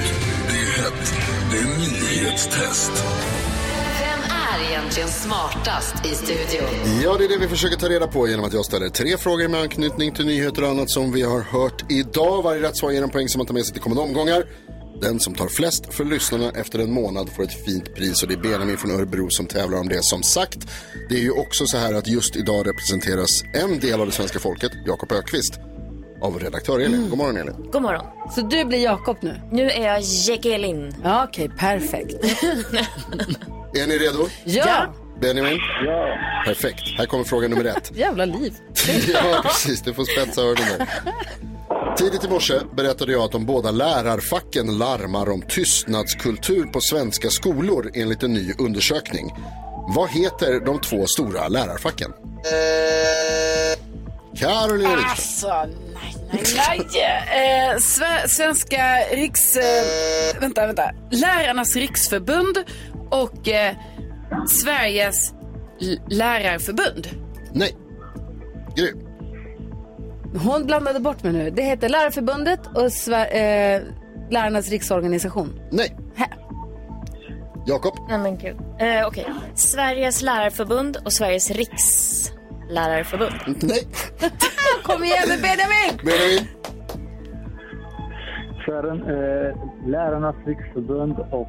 M: det är hett, det är nyhetstest.
C: Vem är egentligen smartast i studion?
G: Ja, det är det vi försöker ta reda på genom att jag ställer tre frågor med anknytning till nyheter och annat som vi har hört idag. Varje rätt svar ger en poäng som man tar med sig till kommande omgångar. Den som tar flest för lyssnarna efter en månad får ett fint pris och det är Benjamin från Örebro som tävlar om det som sagt. Det är ju också så här att just idag representeras en del av det svenska folket, Jakob Ökvist av redaktör Elin. God morgon Elin.
I: God morgon.
A: Så du blir Jakob nu?
I: Nu är jag Jegelin.
A: Ja, okej, perfekt.
G: Är ni redo?
A: Ja.
G: Benjamin? Ja. Perfekt. Här kommer fråga nummer ett.
A: Jävla liv.
G: ja, precis. Du får spetsa öronen. där. Tidigt i morse berättade jag att de båda lärarfacken larmar om tystnadskultur på svenska skolor enligt en ny undersökning. Vad heter de två stora lärarfacken? Caroline Eriksson.
E: Alltså, nej, nej, nej. Eh, sve- svenska riks... Eh, vänta, vänta. Lärarnas riksförbund och eh, Sveriges l- lärarförbund.
G: Nej. Gry.
A: Hon blandade bort mig nu. Det heter Lärarförbundet och Sver- eh, Lärarnas riksorganisation.
G: Nej. Jakob?
I: Nej men gud. Eh, Okej. Sveriges lärarförbund och Sveriges rikslärarförbund.
G: Nej.
A: Kom igen nu Benjamin!
G: Benjamin?
B: Sören, eh, Lärarnas riksförbund och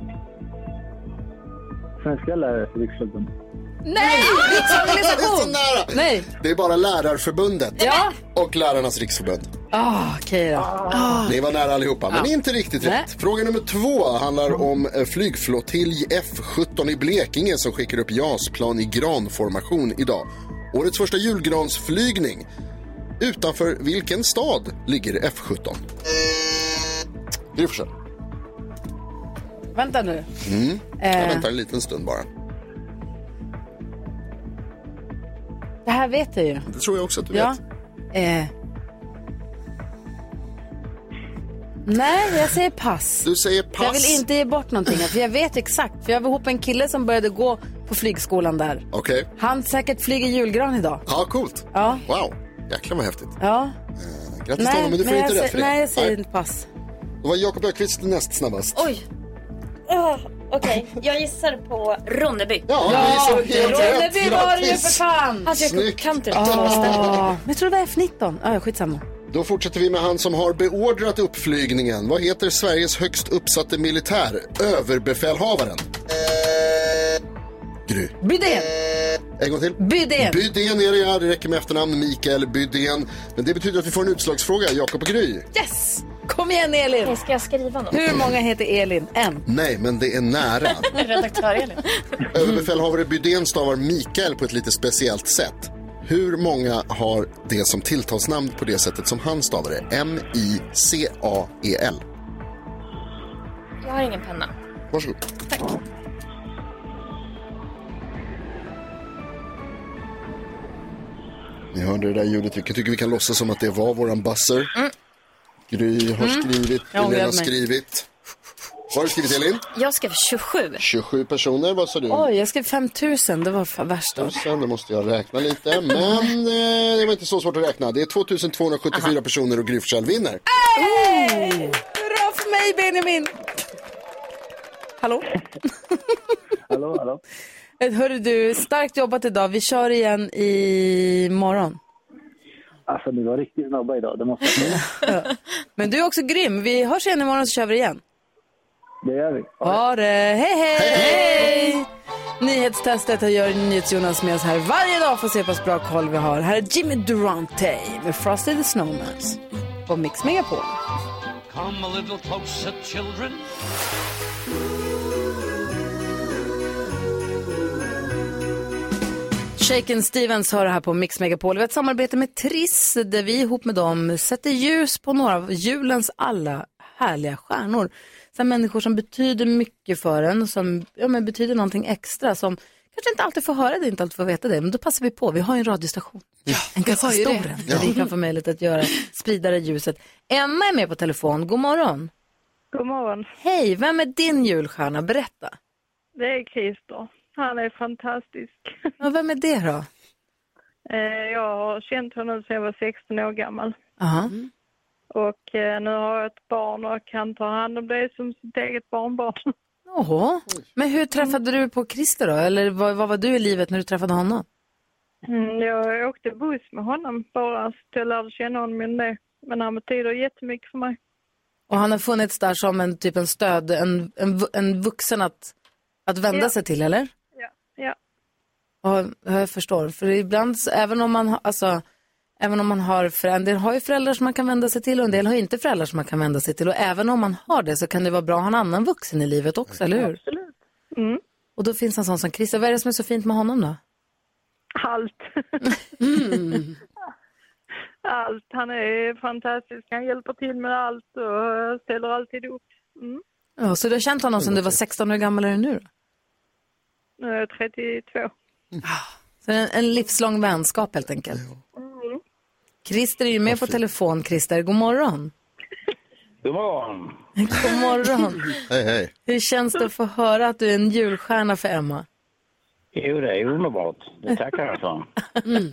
B: Svenska lärares riksförbund.
A: Nej!
G: Det är så
A: Riksorganisation!
G: nära.
A: Nej.
G: Det är bara Lärarförbundet
A: Ja.
G: och Lärarnas riksförbund.
A: Ah, okej då. Ah.
G: Ni var nära allihopa, men
A: Ja.
G: inte riktigt
A: Nej.
G: rätt. Fråga nummer två handlar om eh, flygflottilj F17 i Blekinge som skickar upp JAS-plan i granformation idag. Årets första julgransflygning. Utanför vilken stad ligger F17? Gry Forssell.
A: Vänta nu.
G: Mm. Jag
A: Eh.
G: väntar en liten stund bara.
A: Det här vet jag ju.
G: Det tror jag också att du
A: ja.
G: vet.
A: Eh. Nej, jag säger pass.
G: Du säger
A: För Jag
G: pass.
A: vill inte ge bort någonting, för jag vet exakt. För jag var ihop med en kille som började gå på flygskolan där.
G: Okej.
A: Han säkert flyger julgran idag.
G: Ja, coolt.
A: Ja.
G: Wow, jäklar vad häftigt.
A: Ja.
G: Eh, Grattis till honom, men du får
A: jag
G: inte
A: säger-
G: rätt för det.
A: Nej, jag säger inte pass.
G: Då var Jakob Ökvist näst snabbast.
I: Oj. Oh, Okej, jag gissar på Ronneby.
G: Ja, Ja, du gissar helt rätt. Ronneby var det ju för
A: fan!
I: Alltså, jag
G: Snyggt.
I: kan inte det.
A: Ah, men jag tror det var F19. Ah, ja, skitsamma.
G: Då fortsätter vi med han som har beordrat uppflygningen. Vad heter Sveriges högst uppsatte militär? Överbefälhavaren. Gry.
A: Bydén!
G: En gång till.
A: Bydén.
G: Bydén är det ja. Det räcker med efternamn Mikael Bydén. Men det betyder att vi får en utslagsfråga. Jakob och Gry.
A: Yes! Kom igen Elin!
I: Ska jag skriva något?
A: Hur många heter Elin? En.
G: Nej, men det är nära.
I: Redaktör Elin.
G: Överbefälhavare Bydén stavar Mikael på ett lite speciellt sätt. Hur många har det som tilltalsnamn på det sättet som han stavar det? M-I-C-A-E-L.
I: Jag har ingen penna.
G: Varsågod.
I: Tack.
G: Ni hörde det där ljudet. Jag tycker vi kan låtsas som att det var våran buzzer. Gry har
I: Mm.
G: skrivit,
I: Jag ångrar
G: Elin har
I: mig.
G: skrivit. Vad har du skrivit Elin?
I: Jag skrev 27.
G: 27 personer, vad sa du?
A: Oj, jag skrev 5000. Det var fan värst. då.
G: Tusen, då Alltså, måste jag räkna lite. Men eh, det var inte så svårt att räkna. Det är 2274 personer och Gry Forssell vinner.
A: Hey! Hurra för mig Benjamin! Hallå?
B: Hallå, hallå.
A: Eh, Hörru du, starkt jobbat idag. Vi kör igen i morgon.
B: Alltså, ni var riktigt snabba idag, det måste jag säga.
A: Men du är också grym. Vi hörs igen imorgon så kör vi igen.
B: Det gör vi.
A: Ha det! Hej, hej! hej. Nyhetstestet här gör NyhetsJonas med oss här varje dag för att se på hur bra koll vi har. Här är Jimmy Durante med Frosty the Snowman på Mix Megapol.
W: Come a little closer, children.
A: Shaken Stevens hör det här på Mix Megapol. Vi har ett samarbete med Triss där vi ihop med dem sätter ljus på några av julens alla härliga stjärnor. Så här människor som betyder mycket för en, som ja, men betyder någonting extra som kanske inte alltid får höra det, inte alltid får veta det, men då passar vi på. Vi har ju en radiostation. en ganska
E: har ju
A: stor
E: det.
A: en,
E: Ja.
A: där vi kan få möjlighet att göra, sprida det ljuset. Emma är med på telefon. God morgon.
K: God morgon.
A: Hej, vem är din julstjärna? Berätta.
K: Det är Christer. Han är fantastisk.
A: Ja, vem är det då?
K: Eh, Jag har känt honom sedan jag var 16 år gammal.
A: Aha.
K: Mm. Och eh, nu har jag ett barn och han tar hand om det som sitt eget barnbarn.
A: Jaha. Men hur träffade du på Christer då? Eller vad, vad var du i livet när du träffade honom?
K: Mm, Jag åkte buss med honom bara, så jag lärde känna honom genom det. Men han betyder jättemycket för mig.
A: Och han har funnits där som en typ en stöd, en, en, vu- en vuxen att, att vända
K: Ja.
A: sig till, eller?
K: Ja, ja.
A: Ja, jag förstår. För ibland, så- även om man, har- alltså, även om man har föräldrar, en del har ju föräldrar som man kan vända sig till och en del har inte föräldrar som man kan vända sig till. Och även om man har det så kan det vara bra att ha en annan vuxen i livet också, eller hur?
K: Absolut. Mm.
A: Och då finns en sån som Christer. Vad är det som är så fint med honom då?
K: Allt. Allt. Han är fantastisk. Han hjälper till med allt och eh, ställer alltid upp. Mm.
A: Ja, så du har känt honom sedan du var 16 år gammal, är du nu då?
K: Nu är jag 32.
A: Så en, en livslång vänskap helt enkelt. Christer är ju med på telefon. Christer, god morgon.
L: God morgon.
A: God morgon.
L: Hej, hej.
A: Hur känns det att få höra att du är en julstjärna för Emma?
L: Jo, det är underbart. Det tackar jag för. Det
A: Mm.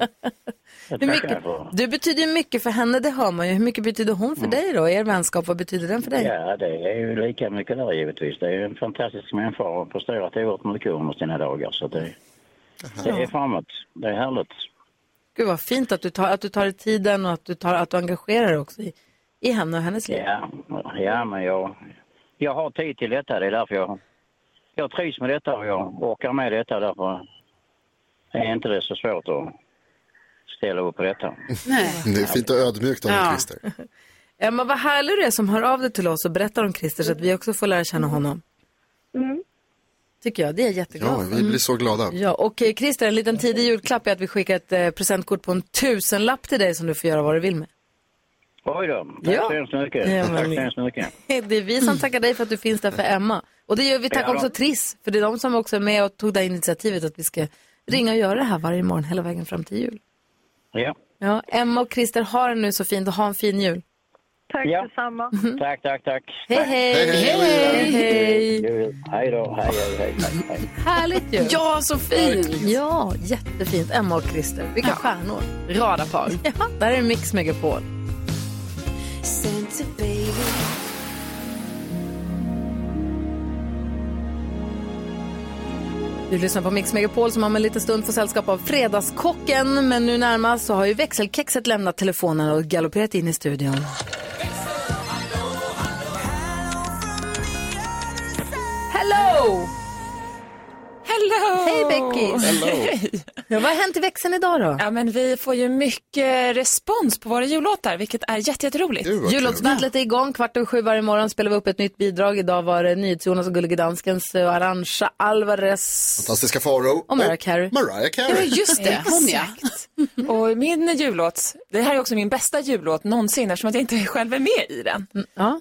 A: Hur
L: tackar jag
A: mycket,
L: för.
A: du betyder ju mycket för henne, det hör man ju. Hur mycket betyder hon för dig då? Er vänskap, vad betyder den för dig?
L: Mm. Ja, det är ju lika mycket där givetvis. Det är ju en fantastisk människa och har presterat oerhört mycket under sina dagar. Så det, det är framåt. Det är härligt.
A: Gud vad fint att du tar, att du tar dig tiden och att du, tar, att du engagerar dig också i, i henne och hennes liv.
L: Ja, ja men jag, jag har tid till detta. Det är därför jag, jag trivs med detta och jag orkar med detta. Därför är inte det så svårt att ställa upp på detta.
G: Det är fint och ödmjukt av dig,
A: Ja.
G: Christer.
A: Emma, vad härlig du är som hör av dig till oss och berättar om Christer så att vi också får lära känna
L: Mm.
A: honom. Tycker jag, det är jag jätteglad
G: Ja,
A: för.
G: vi blir så glada.
A: Ja, och eh, Christer, en liten tidig julklapp är att vi skickar ett eh, presentkort på en tusenlapp till dig som du får göra vad du vill med.
L: Oj då, tack
A: Ja.
L: så hemskt mycket.
A: Ja, men-
L: tack så hemskt mycket.
A: Det är vi som tackar dig för att du finns där för Emma. Och det gör vi tack
L: Ja.
A: också Triss, för det är de som också är med och tog det här initiativet att vi ska ringa och göra det här varje morgon hela vägen fram till jul.
L: Ja.
A: Ja, Emma och Christer, har det nu så fint och ha en fin jul.
K: Tack
L: Ja.
K: detsamma.
L: Tack, tack, tack.
A: Mhm. Hej, hej. Hej, hej. Hej.
L: Hej då. Hej, hej, hej, hej, hej.
A: Härligt ju!
E: Ja, så fint!
A: Ja, jättefint. Emma och Christer, vilka stjärnor.
E: Radarpar.
A: Ja, där är Mix Megapol.
U: Santa baby.
A: Du lyssnar på Mix Megapol som om en liten stund får sällskap av Fredagskocken. Men nu närmast så har ju växelkexet lämnat telefonen och galopperat in i studion. Hello!
Y: Hello!
A: Hej Beckis!
Y: Hello.
A: Ja, vad har hänt i växeln idag då?
Y: Ja, men vi får ju mycket respons på våra jullåtar, vilket är jätte- jätteroligt.
A: Jullåtsbattlet är igång. Kvart över sju varje morgon spelar vi upp ett nytt bidrag. Idag var det NyhetsJonas och Gullige Danskens eh, och Arantxa Alvarez.
G: Fantastiska Faro.
A: Och Mariah Carey.
G: Mariah Carey.
Y: Ja, just det. Hon, ja. Och min jullåt, det här är också min bästa jullåt någonsin eftersom att jag inte själv är med i den.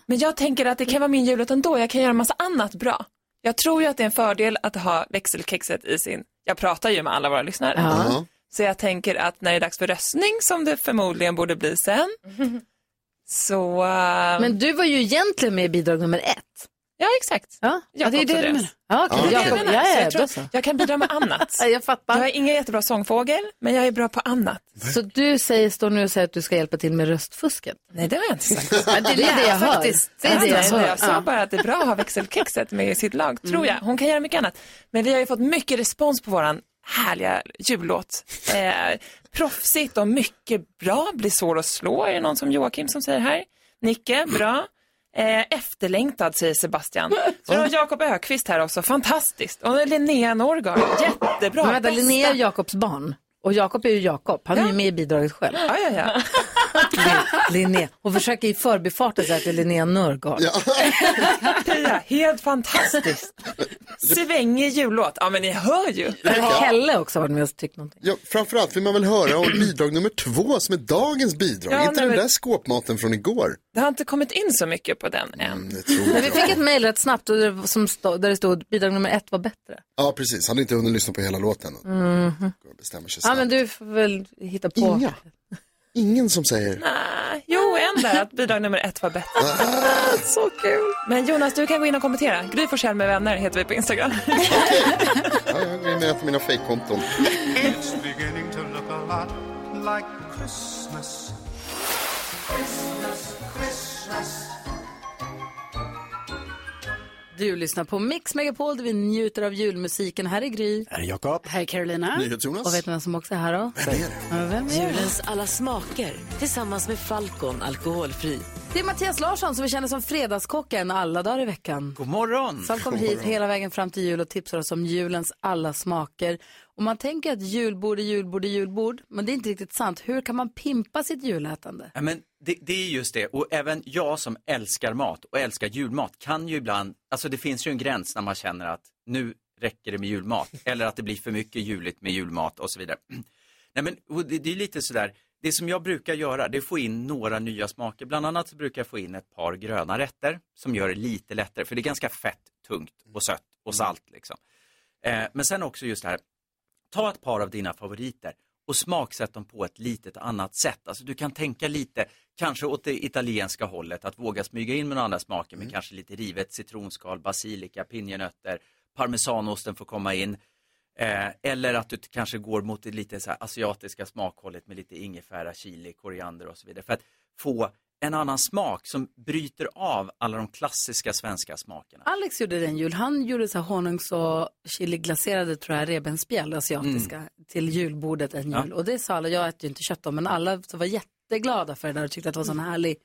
Y: Men jag tänker att det kan vara min jullåt ändå, jag kan göra massa annat bra. Jag tror ju att det är en fördel att ha växelkexet i sin, jag pratar ju med alla våra lyssnare.
G: Ja.
Y: Så jag tänker att när det är dags för röstning, som det förmodligen borde bli sen, så... eh,
A: Men du var ju egentligen med i bidrag nummer ett.
Y: Ja, exakt.
A: Ja,
Y: Jakob
A: det är det du
Y: Torell.
A: menar. Ja, okej.
Y: Det är det
A: Jakob,
Y: jag menar.
A: ja,
Y: Så
A: ja,
Y: jag, tror
A: då
Y: att
A: så.
Y: jag kan bidra med annat.
A: jag fattar.
Y: Jag är ingen jättebra sångfågel, men jag är bra på annat.
A: Så du säger, står nu och säger att du ska hjälpa till med röstfusket?
Y: Nej, det har jag inte sagt.
A: Ja, det är det jag hör.
Y: Faktiskt.
A: Det är det
Y: jag,
A: jag hör.
Y: jag
A: Ja. Mm.
Y: sa bara att det är bra att ha växelkexet med i sitt lag, tror jag. Hon kan göra mycket annat. Men vi har ju fått mycket respons på våran härliga jullåt. Eh, proffsigt och mycket bra. Blir svår att slå, är det någon som Joakim som säger här. Nicke, bra. Eh, efterlängtad säger Sebastian. Så har Jakob Ökvist här också, fantastiskt. Och Linnea Norgard, jättebra.
A: Men vänta,
Y: Bästa.
A: Linnea är Jakobs barn. Och Och Jakob är ju Jakob, han är ju med i bidraget själv.
Y: Ja, ja, ja.
A: Linné. Hon försöker i förbifarten säga att det är Linnea Nörgaard.
Y: Pia, helt fantastiskt. Svängig jullåt. Ja, men ni hör ju.
A: Pelle också har varit med och tyckt någonting.
G: Ja, framförallt vill man väl höra om bidrag nummer två som är dagens bidrag.
Y: Ja,
G: inte
Y: nej,
G: den
Y: men-
G: där skåpmaten från igår. Mm,
Y: Det har inte kommit in så mycket på den än.
A: Men vi fick ett mejl rätt snabbt och det- som stod, där det stod bidrag nummer ett var bättre.
G: Ja, precis. Han hade inte hunnit lyssna på hela låten.
Y: Mm-hmm.
A: Mhm.
G: Bestämmer sig
A: Ja,
G: snabbt.
A: men du får väl hitta på.
G: Inga. Ingen som säger.
Y: Nej, Ah, Jo, en där att bidrag nummer ett var bättre.
A: Ah,
Y: så kul. Men Jonas, du kan gå in och kommentera. Gry Forssell med vänner heter vi på Instagram.
G: Ja, jag går in med ett av mina fejkkonton.
M: It's beginning to look a lot like Christmas. Christmas, Christmas.
A: Du lyssnar på Mix Megapol där vi njuter av julmusiken. Här är Gry.
H: Här är Jakob.
A: Här är Carolina.
H: NyhetsJonas.
A: Och vet ni vem som också är här då? Vem är det? Vem är det?
C: Julens alla smaker tillsammans med Falcon alkoholfri.
A: Det är Mattias Larsson som vi känner som Fredagskocken alla dagar i veckan.
H: God morgon.
A: Som kom
H: God
A: hit
H: morgon.
A: hela vägen fram till jul och tipsar oss om julens alla smaker. Och man tänker att julbord är julbord är julbord, men det är inte riktigt sant. Hur kan man pimpa sitt julätande?
H: Ja, men det, det är just det. Och även jag som älskar mat och älskar julmat kan ju ibland, alltså det finns ju en gräns när man känner att nu räcker det med julmat. Eller att det blir för mycket juligt med julmat och så vidare. Nej men och det, det är lite sådär, det som jag brukar göra det är få in några nya smaker. Bland annat så brukar jag få in ett par gröna rätter som gör det lite lättare. För det är ganska fett, tungt och sött och salt liksom. Eh, men sen också just det här, ta ett par av dina favoriter och smaksätt dem på ett litet annat sätt. Alltså du kan tänka lite, kanske åt det italienska hållet, att våga smyga in med några andra smaker med kanske lite rivet citronskal, basilika, pinjenötter, parmesanosten får komma in. Eh, eller att du t- kanske går mot det lite så här asiatiska smakhållet med lite ingefära, chili, koriander och så vidare. För att få en annan smak som bryter av alla de klassiska svenska smakerna.
A: Alex gjorde den jul. Han gjorde så här honungs och chiliglaserade tror jag revbensspjäll, asiatiska, till julbordet en
H: Mm. Ja.
A: jul. Och det sa alla, jag äter ju inte kött då, men alla var jätteglada för det där och tyckte att det var
H: Mm.
A: sån härlig,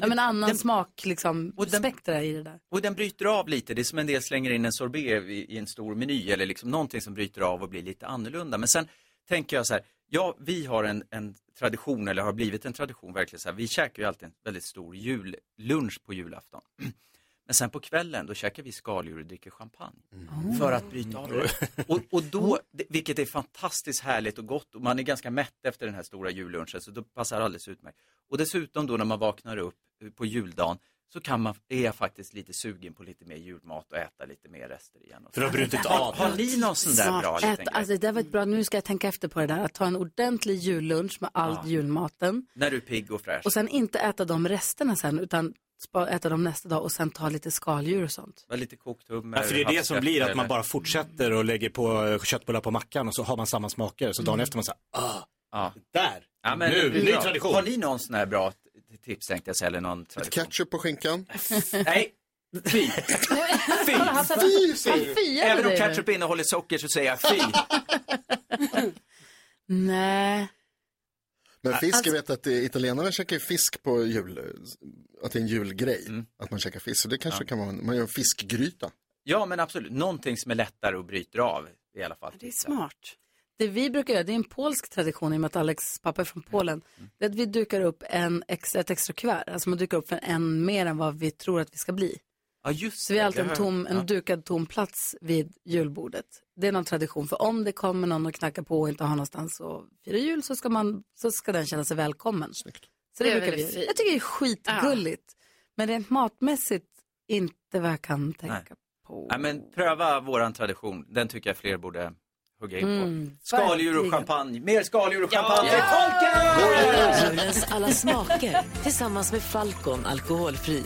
A: ja men annan smak liksom, spektra i det där.
H: Och den bryter av lite, det är som en del slänger in en sorbet i, i en stor meny eller liksom någonting som bryter av och blir lite annorlunda. Men sen tänker jag så här, ja vi har en, en tradition, eller har blivit en tradition verkligen så här, vi käkar ju alltid en väldigt stor jullunch på julafton. Men sen på kvällen då käkar vi skaldjur och dricker champagne. För att bryta av det. Och, och då, det- vilket är fantastiskt härligt och gott, och man är ganska mätt efter den här stora jullunchen så då passar det alldeles utmärkt. Och dessutom då när man vaknar upp eh, på juldagen så kan man, är jag faktiskt lite sugen på lite mer julmat och äta lite mer rester igen. och
P: För du har
H: så.
P: brutit
H: Har-
P: av
H: Har
P: allt.
H: ni någon sån där bra liten
A: Ett,
H: grej?
A: alltså, det där var ett bra, nu ska jag tänka efter på det där, att ta en ordentlig jullunch med all
H: Ja.
A: julmaten.
H: När du är pigg och fräsch.
A: Och sen inte äta de resterna sen, utan spa- äta dem nästa dag och sen ta lite skaldjur och sånt.
H: Var lite kokt hummer.
P: Ja, för det är det som
H: havskräftor
P: blir att man
H: eller-
P: bara fortsätter och lägger på eh, köttbullar på mackan och så har man samma smaker. Så dagen efter man säger, ah,
H: Ja.
P: där,
H: Ja, men,
P: nu,
H: det är
P: ny
H: bra.
P: tradition.
H: Har ni någon sån här bra t- tips tänkte jag säga, eller någon tradition?
G: Ketchup på skinkan.
H: Nej, fy. Fy.
A: Kolla, han satt-
G: Fy,
A: säger du. Han fiade
H: Även om
A: dig nu.
H: ketchup innehåller socker så säger jag fy.
A: Nej.
G: Men fisk,
A: Alltså-
G: jag vet att eh, italienarna käkar ju fisk på jul, eh, att det är en julgrej.
H: Mm.
G: Att man käkar fisk, så det kanske kan vara, en- man gör en fiskgryta.
H: Ja, men absolut. Någonting som är lättare och bryter av i alla fall.
A: Det är smart. Det vi brukar göra, det är en polsk tradition i och med att Alex pappa är från Polen. Det är att vi dukar upp en extra, ett extra kuvert. Alltså man dukar upp för en mer än vad vi tror att vi ska bli.
H: Ja, just
A: Så vi har alltid
H: det.
A: en, tom, en
H: Ja.
A: dukad tom plats vid julbordet. Det är någon tradition. För om det kommer någon och knackar på och inte har någonstans att fira jul så ska, man, så ska den känna sig välkommen. Så det,
E: Det är
A: brukar vi.
E: väldigt fint.
A: Jag tycker det är skitgulligt. Men rent matmässigt inte vad jag kan tänka.
H: Nej. Nej, men pröva våran tradition. Den tycker jag fler borde hugga in på.
A: Mm,
H: skaldjur och
A: verkligen.
H: champagne. Mer skaldjur och champagne till folket!
C: Julens alla smaker tillsammans med Falcon alkoholfri.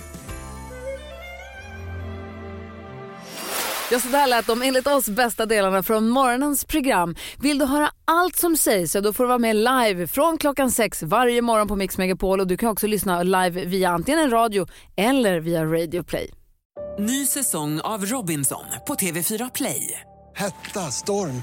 A: Ja, så där lät de enligt oss bästa delarna från morgonens program. Vill du höra allt som sägs så då får du vara med live från klockan sex varje morgon på Mix Megapol och du kan också lyssna live via antingen en radio eller via Radio Play.
Z: Ny säsong av Robinson på TV4 Play.
D: Hetta, storm,